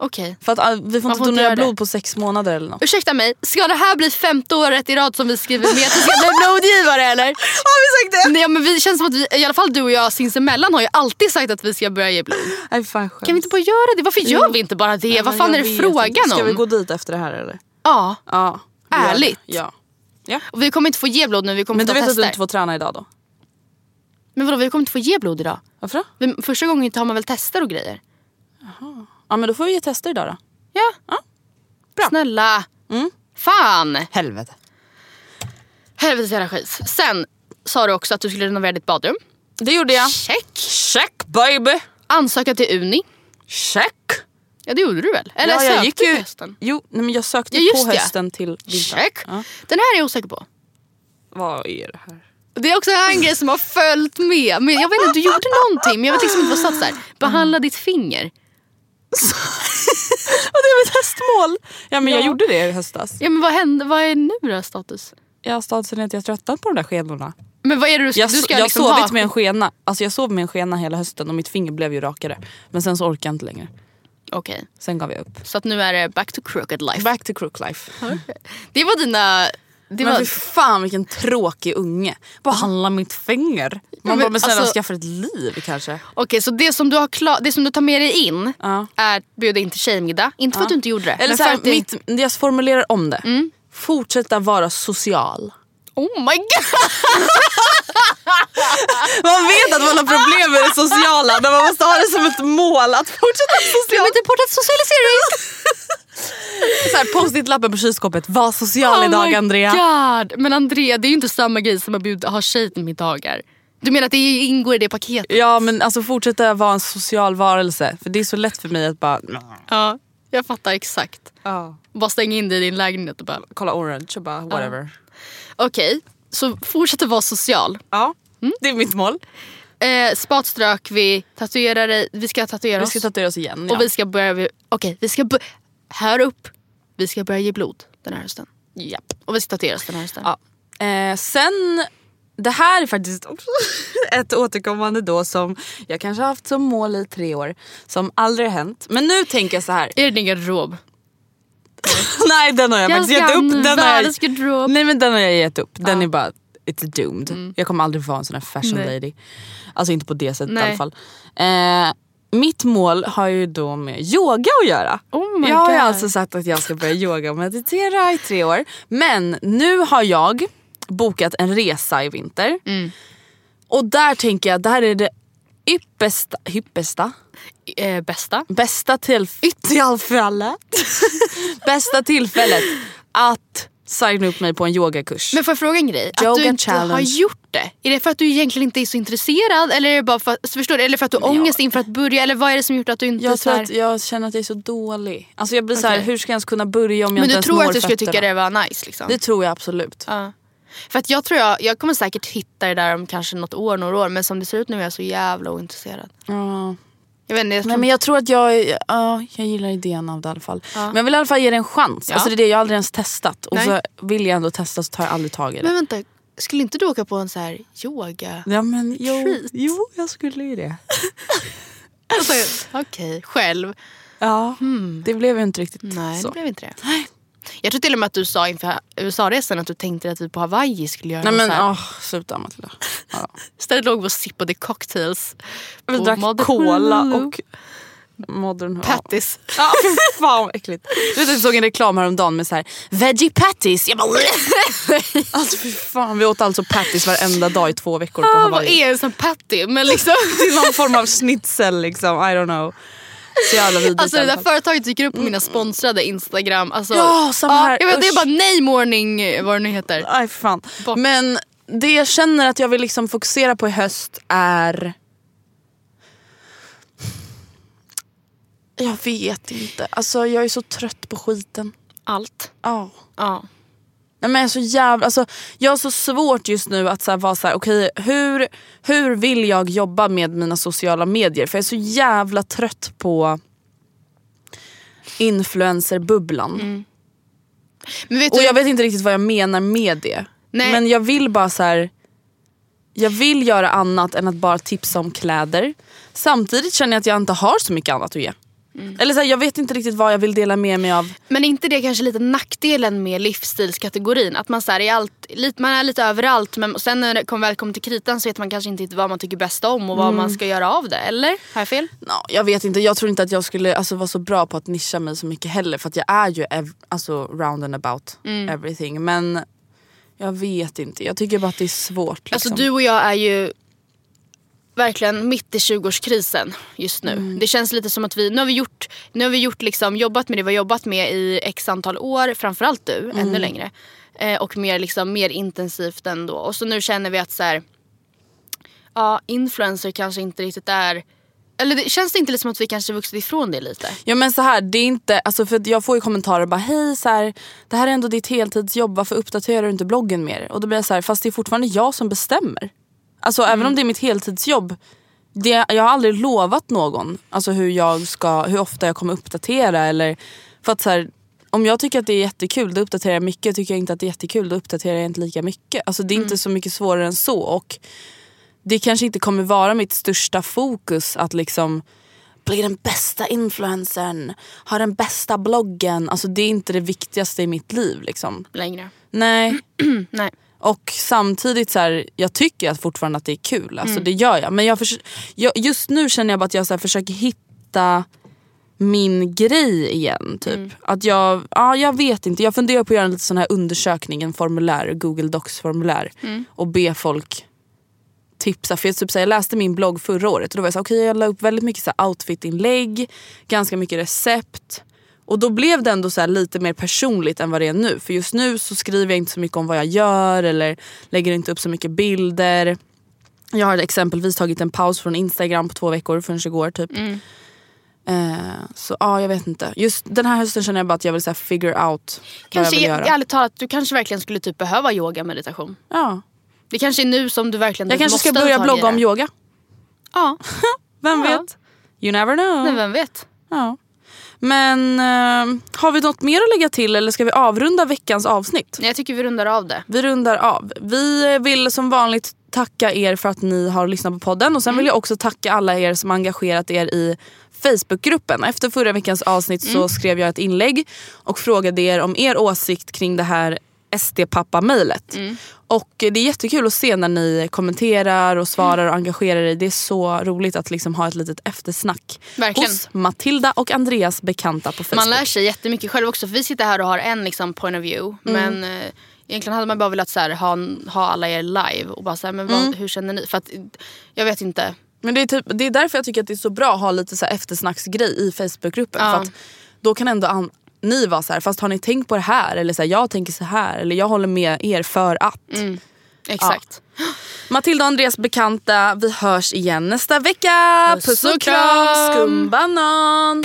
Okej.
För att ah, vi får
Man
inte
får inte
donera
göra det.
blod på sex månader eller något.
Ursäkta mig, ska det här bli femte året i rad som vi skriver med att vi ska bli blodgivare eller? Har vi sagt det? Nej men vi det känns som att vi, i alla fall du och jag sinsemellan har ju alltid sagt att vi ska börja ge blod.
Nej, fan, skämt.
Kan vi inte bara göra det? Varför gör
Jo.
vi inte bara det?
Nej,
Vad
men
fan är
jag
det
vet inte.
frågan
Ska vi
om?
gå dit efter det här eller?
Ja.
Ja. gör det.
Ärligt?
Ja.
Och vi kommer inte få ge blod nu, vi kommer
Men
få
du
ta
vet att
tester.
du inte får träna idag då?
Men vadå, vi kommer inte få ge blod idag?
Varför då?
Men första gången tar man väl tester och grejer?
Ja men då får vi ge tester idag då.
Ja. Mm. Snälla. Fan.
Helvete.
Helvetes jävla skit. Sen sa du också att du skulle renovera ditt badrum.
Det gjorde jag.
Check.
Check baby!
Ansöka till Uni.
Check!
Ja det gjorde du väl? Eller
ja,
sökte
jag gick ju,
du hösten?
Jo, nej, men jag sökte
Ja,
ju
just
på
det.
hösten till vintern.
Check.
Ja.
Den här är jag osäker på.
Vad är det här?
Det är också en grej som har följt med. Men jag vet inte, du gjorde någonting men jag vet liksom inte vad satt där. Behandla ditt finger.
Och det är mitt hästmål! Ja men jag gjorde det i höstas.
Ja men vad hände, vad är nu då status?
Jag stadsen är att jag är tröttnat på de där skenorna.
Men vad är det du,
Jag,
du ska
jag
liksom
sovit
ha?
med en skena. Alltså jag sov med en skena hela hösten och mitt finger blev ju rakare. Men sen så orkade jag inte längre.
Okej,
Sen gav jag upp.
så att nu är det back to crooked life.
Back to crook life.
Det var dina... Det
men
var,
fy fan vilken tråkig unge. Behandla mitt finger. Man
men
bara Alltså- men snälla
alltså-
skaffa ett liv kanske.
Okej, så det som, du har klar, det som du tar med dig in
Ja.
är att bjuda in till tjejmiddag. Inte för att du inte gjorde det.
Eller
men
så
för
här,
att det,
mitt, jag formulerar om det. Fortsätta vara social.
Oh my god!
Man vet att man har problem med det sociala men man måste ha det som ett mål att typ fortsätta
Glöm
socialt.
inte bort att socialisera dig!
Så här, Post-it-lappen på kylskåpet. Var social idag Andrea.
Oh God. Men Andrea, det är ju inte samma grej som att bjuda, ha tjejmiddagar. Du menar att det ingår i det paketet?
Ja men alltså fortsätta vara en social varelse. För det är så lätt för mig att bara
Ja, jag fattar exakt.
ja.
Bara stäng in dig i din lägenhet och bara...
kolla orange och bara whatever.
Okej, så fortsätt att vara social.
Ja. Det är mitt mål.
Eh, spatströk vi, tatuera dig, vi ska tatuera
Vi
oss.
ska tatuera oss igen. Ja.
Och vi ska börja... Okej, vi ska... bö- Hör upp! Vi ska börja ge blod den här hösten.
Japp.
Och vi ska tatuera oss den här hösten.
Ja. Eh, sen, det här är faktiskt också ett återkommande då som jag kanske har haft som mål i tre år. Som aldrig har hänt. Men nu tänker jag så här.
Är det din garderob?
Nej den har jag,
Jag
faktiskt
ska
gett upp. Den har
världens
jag,
garderob. Mm.
nej men den har jag gett upp. Den är bara, it's doomed. Jag kommer aldrig vara en sån här fashion
Nej.
lady. Alltså inte på det sättet
Nej.
i alla fall. Eh, mitt mål har ju då med yoga att göra.
Oh my
jag har ju
God.
alltså sagt att jag ska börja yoga och meditera i tre år. Men nu har jag bokat en resa i vinter.
Mm.
Och där tänker jag, det här är det yppersta, yppersta
Eh, bästa?
bästa tillfället bästa tillfället att signa upp mig på en yogakurs.
Men får jag fråga en grej? Att
Yoga
du inte
challenge.
har gjort det, är det för att du egentligen inte är så intresserad? Eller är det, bara för, att- förstår du? Eller för att du har ångest inför att börja? Eller vad är det som gjort att du inte...
jag
så
tror
här...
att jag känner att jag är så dålig. Alltså jag blir så här,
Okej.
hur ska jag ens kunna börja om jag inte
men du
ens
tror
når
att du skulle tycka
fötterna?
det var nice? Liksom.
Det tror jag absolut.
Ja. För att jag tror jag, jag kommer säkert hitta det där om kanske något år, några år. Men som det ser ut nu är jag så jävla ointresserad.
Ja.
Jag vet inte, jag tror...
Nej, men jag tror att jag, är- ja, jag gillar idén av det i alla fall. Men jag vill i alla fall ge det en chans.
Ja.
Alltså det är det, jag har aldrig ens testat. Och
Nej.
så vill jag ändå testa så tar jag aldrig tag i det.
men vänta, skulle inte du åka på en så här yoga...
ja, men, jo,
Treat.
jo, jag skulle ju det.
Alltså, Okej, själv.
Ja, Det blev ju inte riktigt
Hmm. Nej,
så.
det blev inte det. Jag tror till och med att du sa inför USA-resan att du tänkte att vi på Hawaii skulle göra
Nej
något
men
så här.
åh, sluta Matilda. Ja.
Istället låg vi och sippade cocktails.
Vi
på
drack
Modern
cola
Hulu.
och modern Hulu.
Pattis.
Ja, fy fan vad äckligt. Du vet, jag såg en reklam häromdagen med så här veggie patties. Jag bara... alltså fy fan, vi åt alltså patties varenda dag i två veckor på
Ah, vad
Hawaii.
är en sån patty? Men liksom,
Det är någon form av schnitzel liksom, I don't know. Så jävla vidrigt
alltså
i
det
alla
där
fall.
företaget dyker upp på mina sponsrade Instagram. Alltså,
Mm. Ja, samma här.
jag vet, det är
Usch.
bara nej morning eh, vad det nu heter.
Aj för fan.
Bort.
Men det jag känner att jag vill liksom fokusera på i höst är... Jag vet inte. Alltså jag är så trött på skiten.
Allt.
Ja.
Ja.
Nej, men jag, är så jävla, alltså, jag har så svårt just nu att så här, vara så här, okej hur, hur vill jag jobba med mina sociala medier? För jag är så jävla trött på influencerbubblan.
Men vet
Och
du-
jag vet inte riktigt vad jag menar med det.
Nej.
Men jag vill bara så här. Jag vill göra annat än att bara tipsa om kläder. Samtidigt känner jag att jag inte har så mycket annat att ge.
Mm.
Eller så här, jag vet inte riktigt vad jag vill dela med mig av.
Men är inte det kanske lite nackdelen med livsstilskategorin? Att man, så här är allt, lite, man är lite överallt men sen när det kom, väl kommer till kritan så vet man kanske inte riktigt vad man tycker bäst om och vad
Mm.
man ska göra av det. Eller? Har jag fel?
Ja, jag vet inte, jag tror inte att jag skulle alltså, vara så bra på att nischa mig så mycket heller för att jag är ju ev- alltså, round and about
Mm.
everything. Men jag vet inte, jag tycker bara att det är svårt. Liksom.
Alltså du och jag är ju verkligen mitt i 20-årskrisen just nu.
Mm.
Det känns lite som att vi, nu har vi gjort, nu har vi gjort liksom, jobbat med det vi har jobbat med i x antal år, framförallt du,
Mm.
ännu längre. Eh, och mer, liksom, mer intensivt ändå. Och så nu känner vi att så här, ja, influencer kanske inte riktigt är, eller det, känns det inte lite som att vi kanske vuxit ifrån det lite?
Ja men så här, det är inte, alltså för att jag får ju kommentarer bara hej så här, det här är ändå ditt heltidsjobb varför uppdaterar du inte bloggen mer? Och då blir jag så här, fast det är fortfarande jag som bestämmer. Alltså även om det är mitt heltidsjobb, det, jag har aldrig lovat någon alltså hur, jag ska, hur ofta jag kommer uppdatera eller för att så här, om jag tycker att det är jättekul då uppdaterar jag mycket, tycker jag inte att det är jättekul då uppdaterar jag inte lika mycket. Alltså det är inte så mycket svårare än så och det kanske inte kommer vara mitt största fokus att liksom bli den bästa influencern, ha den bästa bloggen. Alltså det är inte det viktigaste i mitt liv. Liksom.
Längre.
Nej.
Nej.
Och samtidigt så här, jag tycker att fortfarande att det är kul. Alltså det gör jag. Men jag förs- jag, just nu känner jag bara att jag så här försöker hitta min grej igen. Typ. Att jag, ja, jag vet inte. Jag funderar på att göra en liten sån här undersökning, en formulär, Google Docs formulär.
Mm.
Och be folk tipsa. För jag, typ, så här, jag läste min blogg förra året och då var jag så här, okej, jag la upp väldigt mycket så här, outfit-inlägg, ganska mycket recept. Och då blev det ändå så här, lite mer personligt än vad det är nu. För just nu så skriver jag inte så mycket om vad jag gör eller lägger inte upp så mycket bilder. Jag har exempelvis tagit en paus från Instagram på två veckor förrän igår typ.
Mm.
Eh, så ja, jag vet inte. Just den här hösten känner jag bara att jag vill så här, figure out vad jag
Kanske,
vill göra.
ärligt talat, du kanske verkligen skulle typ behöva yoga meditation.
Ja.
Det kanske är nu som du verkligen typ
Jag kanske
måste
ska
ta
börja
tag i
blogga
det.
om yoga.
Ja.
Vem vet? You never know.
Nej, vem vet?
Ja. Men eh, har vi något mer att lägga till eller ska vi avrunda veckans avsnitt?
Jag tycker vi rundar av det.
Vi rundar av. Vi vill som vanligt tacka er för att ni har lyssnat på podden och sen
Mm.
vill jag också tacka alla er som engagerat er i Facebookgruppen. Efter förra veckans avsnitt
Mm.
så skrev jag ett inlägg och frågade er om er åsikt kring det här SD-pappa-mejlet.
Mm.
Och det är jättekul att se när ni kommenterar och svarar och engagerar er. Det är så roligt att liksom ha ett litet eftersnack
Verkligen.
hos Matilda och Andreas bekanta på Facebook.
Man lär sig jättemycket själv också. För vi sitter här och har en liksom, point of view.
Mm.
Men eh, egentligen hade man bara velat så här, ha, ha alla er live. Och bara så här, men vad, hur känner ni? För att, eh, jag vet inte.
Men det är, typ, det är därför jag tycker att det är så bra att ha lite så här eftersnacksgrej i Facebookgruppen.
Ja.
För att då kan ändå an- ni vara så här, fast har ni tänkt på det här? Eller så här, jag tänker så här. Eller jag håller med er för att.
Exakt.
Matilda och Andreas bekanta, vi hörs igen nästa vecka.
Puss
Puss
och
och kram,
kram.
skumbanan.